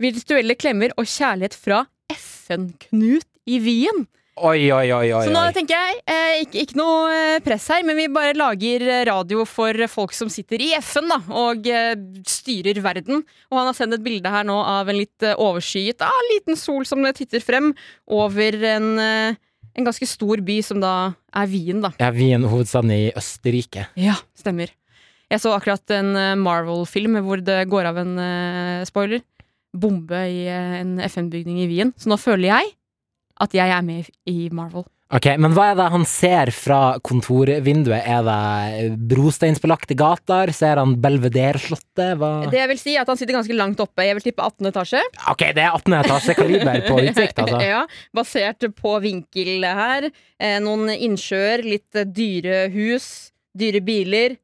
S3: Virtuelle klemmer og kjærlighet fra FN-Knut i Wien.
S2: Oi, oi, oi, oi.
S3: Så nå
S2: oi.
S3: tenker jeg, eh, ikke, ikke noe eh, press her, men vi bare lager eh, radio for folk som sitter i FN da, og eh, styrer verden. Og han har sendt et bilde her nå av en litt eh, overskyet ah, liten sol som titter frem over en, eh, en ganske stor by som da er Wien, da.
S2: Ja, Wien, hovedstaden i Østerrike.
S3: Ja, stemmer. Jeg så akkurat en eh, Marvel-film hvor det går av en eh, spoiler. Bombe i eh, en FN-bygning i Wien. Så nå føler jeg at jeg er med i Marvel.
S2: Ok, Men hva er det han ser fra kontorvinduet? Er det brosteinsbelagte gater? Ser han Belvedere-slottet? Hva
S3: Det jeg vil si er at Han sitter ganske langt oppe. Jeg vil tippe 18. etasje.
S2: Ok, det er 18 etasje kaliber på utsikt, altså.
S3: [LAUGHS] ja, basert på vinkel her. Eh, noen innsjøer, litt eh, dyre hus, dyre biler.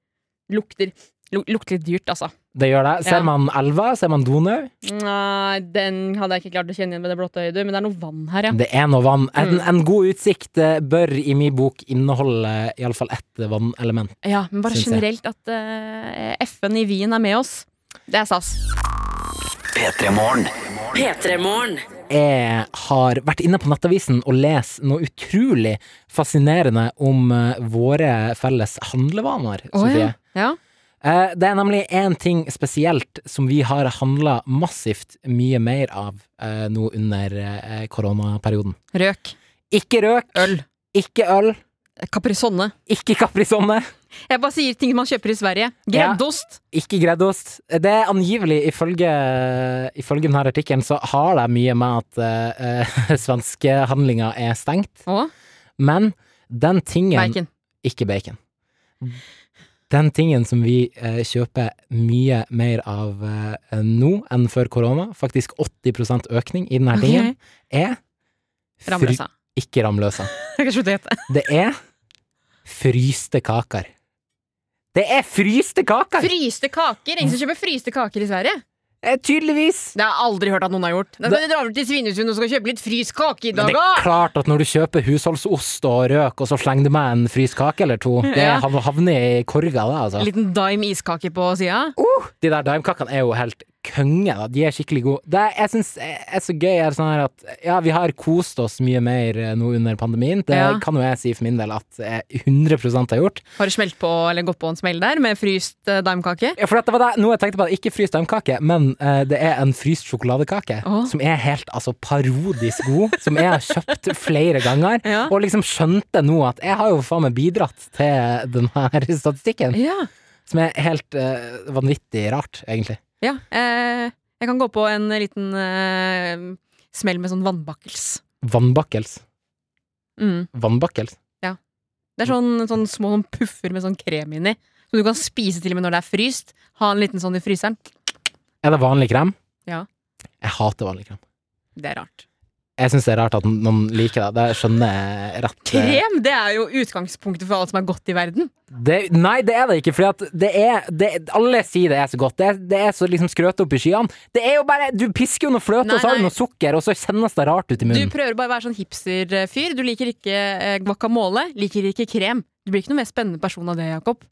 S3: Lukter lu- Lukter litt dyrt, altså.
S2: Det gjør det. Ser
S3: Ja.
S2: man elva? Ser man Donau?
S3: Nei, den hadde jeg ikke klart å kjenne igjen med det blotte øyet, du, men det er noe vann her, ja. Mm.
S2: Det er noe vann. En, en god utsikt eh, bør i min bok inneholde iallfall ett vannelement.
S3: Ja, men bare
S2: Syns jeg.
S3: generelt at eh, FN i Wien er med oss. Det er SAS.
S7: P3-morgen.
S2: Jeg har vært inne på Nettavisen og lest noe utrolig fascinerende om eh, våre felles handlevaner. Sofie.
S3: ja.
S2: Eh, Det er nemlig én ting spesielt som vi har handla massivt mye mer av eh, nå under eh, koronaperioden.
S3: Røk.
S2: Ikke røk,
S3: Øl.
S2: ikke øl,
S3: Caprisonne.
S2: ikke kaprisonne.
S3: Jeg bare sier ting man kjøper i Sverige. Greddost.
S2: Ikke greddost. Det er angivelig, ifølge, ifølge denne artikkelen, så har det mye med at eh, [LAUGHS] eh, svenskehandlinga er stengt.
S3: Og
S2: Men den tingen
S3: bacon.
S2: Ikke bacon. Den tingen som vi eh, kjøper mye mer av eh, nå enn før korona, faktisk 80 økning i denne
S3: Ok.
S2: tingen, er fry-
S3: Ramløsa.
S2: Ikke ramløsa.
S3: [LAUGHS] Jeg kan slutte å gjette.
S2: Det er fryste kaker. Det er fryste
S3: [LAUGHS]
S2: kaker!
S3: Fryste kaker. Ingen som kjøper fryste kaker i Sverige.
S2: Eh, tydeligvis.
S3: Det har jeg aldri hørt at noen har gjort. Da skal vi dra over til Svinesund og skal kjøpe litt fryst kake i
S2: Men
S3: dag,
S2: det er
S3: da.
S2: klart at når du kjøper husholdsost og røk, og så slenger du med en fryst kake eller to, det
S3: Ja.
S2: hav- havner i korga, det, altså.
S3: Liten dime iskake på sida.
S2: De der daimkakene er jo helt konge, da. De er skikkelig gode. Det er- jeg syns er så gøy, er sånn her at ja, vi har kost oss mye mer eh, nå under pandemien. Det
S3: Ja.
S2: kan jo jeg si for min del at jeg 100 har gjort.
S3: Har du smelt på eller gått på en smell der med fryst eh, daimkake?
S2: Ja, for dette var det, noe jeg tenkte på, ikke fryst daimkake, men eh, det er en fryst sjokoladekake
S3: Åh.
S2: som er helt altså, parodisk god, som jeg har kjøpt flere ganger,
S3: Ja.
S2: og liksom skjønte nå at jeg har jo faen meg bidratt til den her [LAUGHS] statistikken,
S3: Ja.
S2: som er helt eh, vanvittig rart, egentlig.
S3: Ja, eh, jeg kan gå på en liten eh, smell med sånn vannbakkels.
S2: Vannbakkels.
S3: Mm.
S2: Vannbakkels.
S3: Det er sånn, sånn små sånn puffer med sånn krem inni, som du kan spise til og med når det er fryst. Ha en liten sånn i fryseren.
S2: Er det vanlig krem?
S3: Ja.
S2: Jeg hater vanlig krem.
S3: Det er rart.
S2: Jeg syns det er rart at noen liker det. Det skjønner jeg rett
S3: Krem det er jo utgangspunktet for alt som er godt i verden.
S2: Det, nei, det er det ikke, for det er det, Alle sier det er så godt. Det er, det er så liksom skrøt opp i skyene. Det er jo bare Du pisker jo noe fløte,
S3: Nei,
S2: og så har du
S3: nei.
S2: noe sukker, og så kjennes det rart ut i
S3: Du
S2: munnen.
S3: prøver bare å være sånn hipsterfyr. Du liker ikke eh, guacamole, liker ikke krem. Du blir ikke noe mer spennende person av det, Jakob.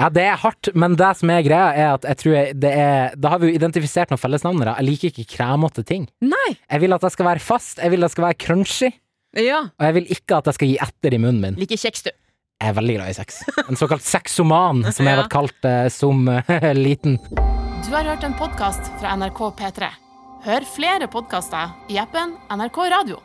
S2: Ja, det er hardt, men det som er greia, er at jeg tror jeg, det er Da har vi jo identifisert noen fellesnevnere. Jeg liker ikke kremete ting.
S3: Nei!
S2: Jeg vil at det skal være fast, jeg vil at det skal være crunchy,
S3: Ja.
S2: og jeg vil ikke at det skal gi etter i munnen min.
S3: Liker kjeks, du.
S2: Jeg er veldig glad i sex. En såkalt sexoman, som jeg har
S3: Ja.
S2: vært kalt eh, som [LAUGHS] eh, liten.
S1: Du har hørt en podkast fra NRK P3. Hør flere podkaster i appen NRK Radio.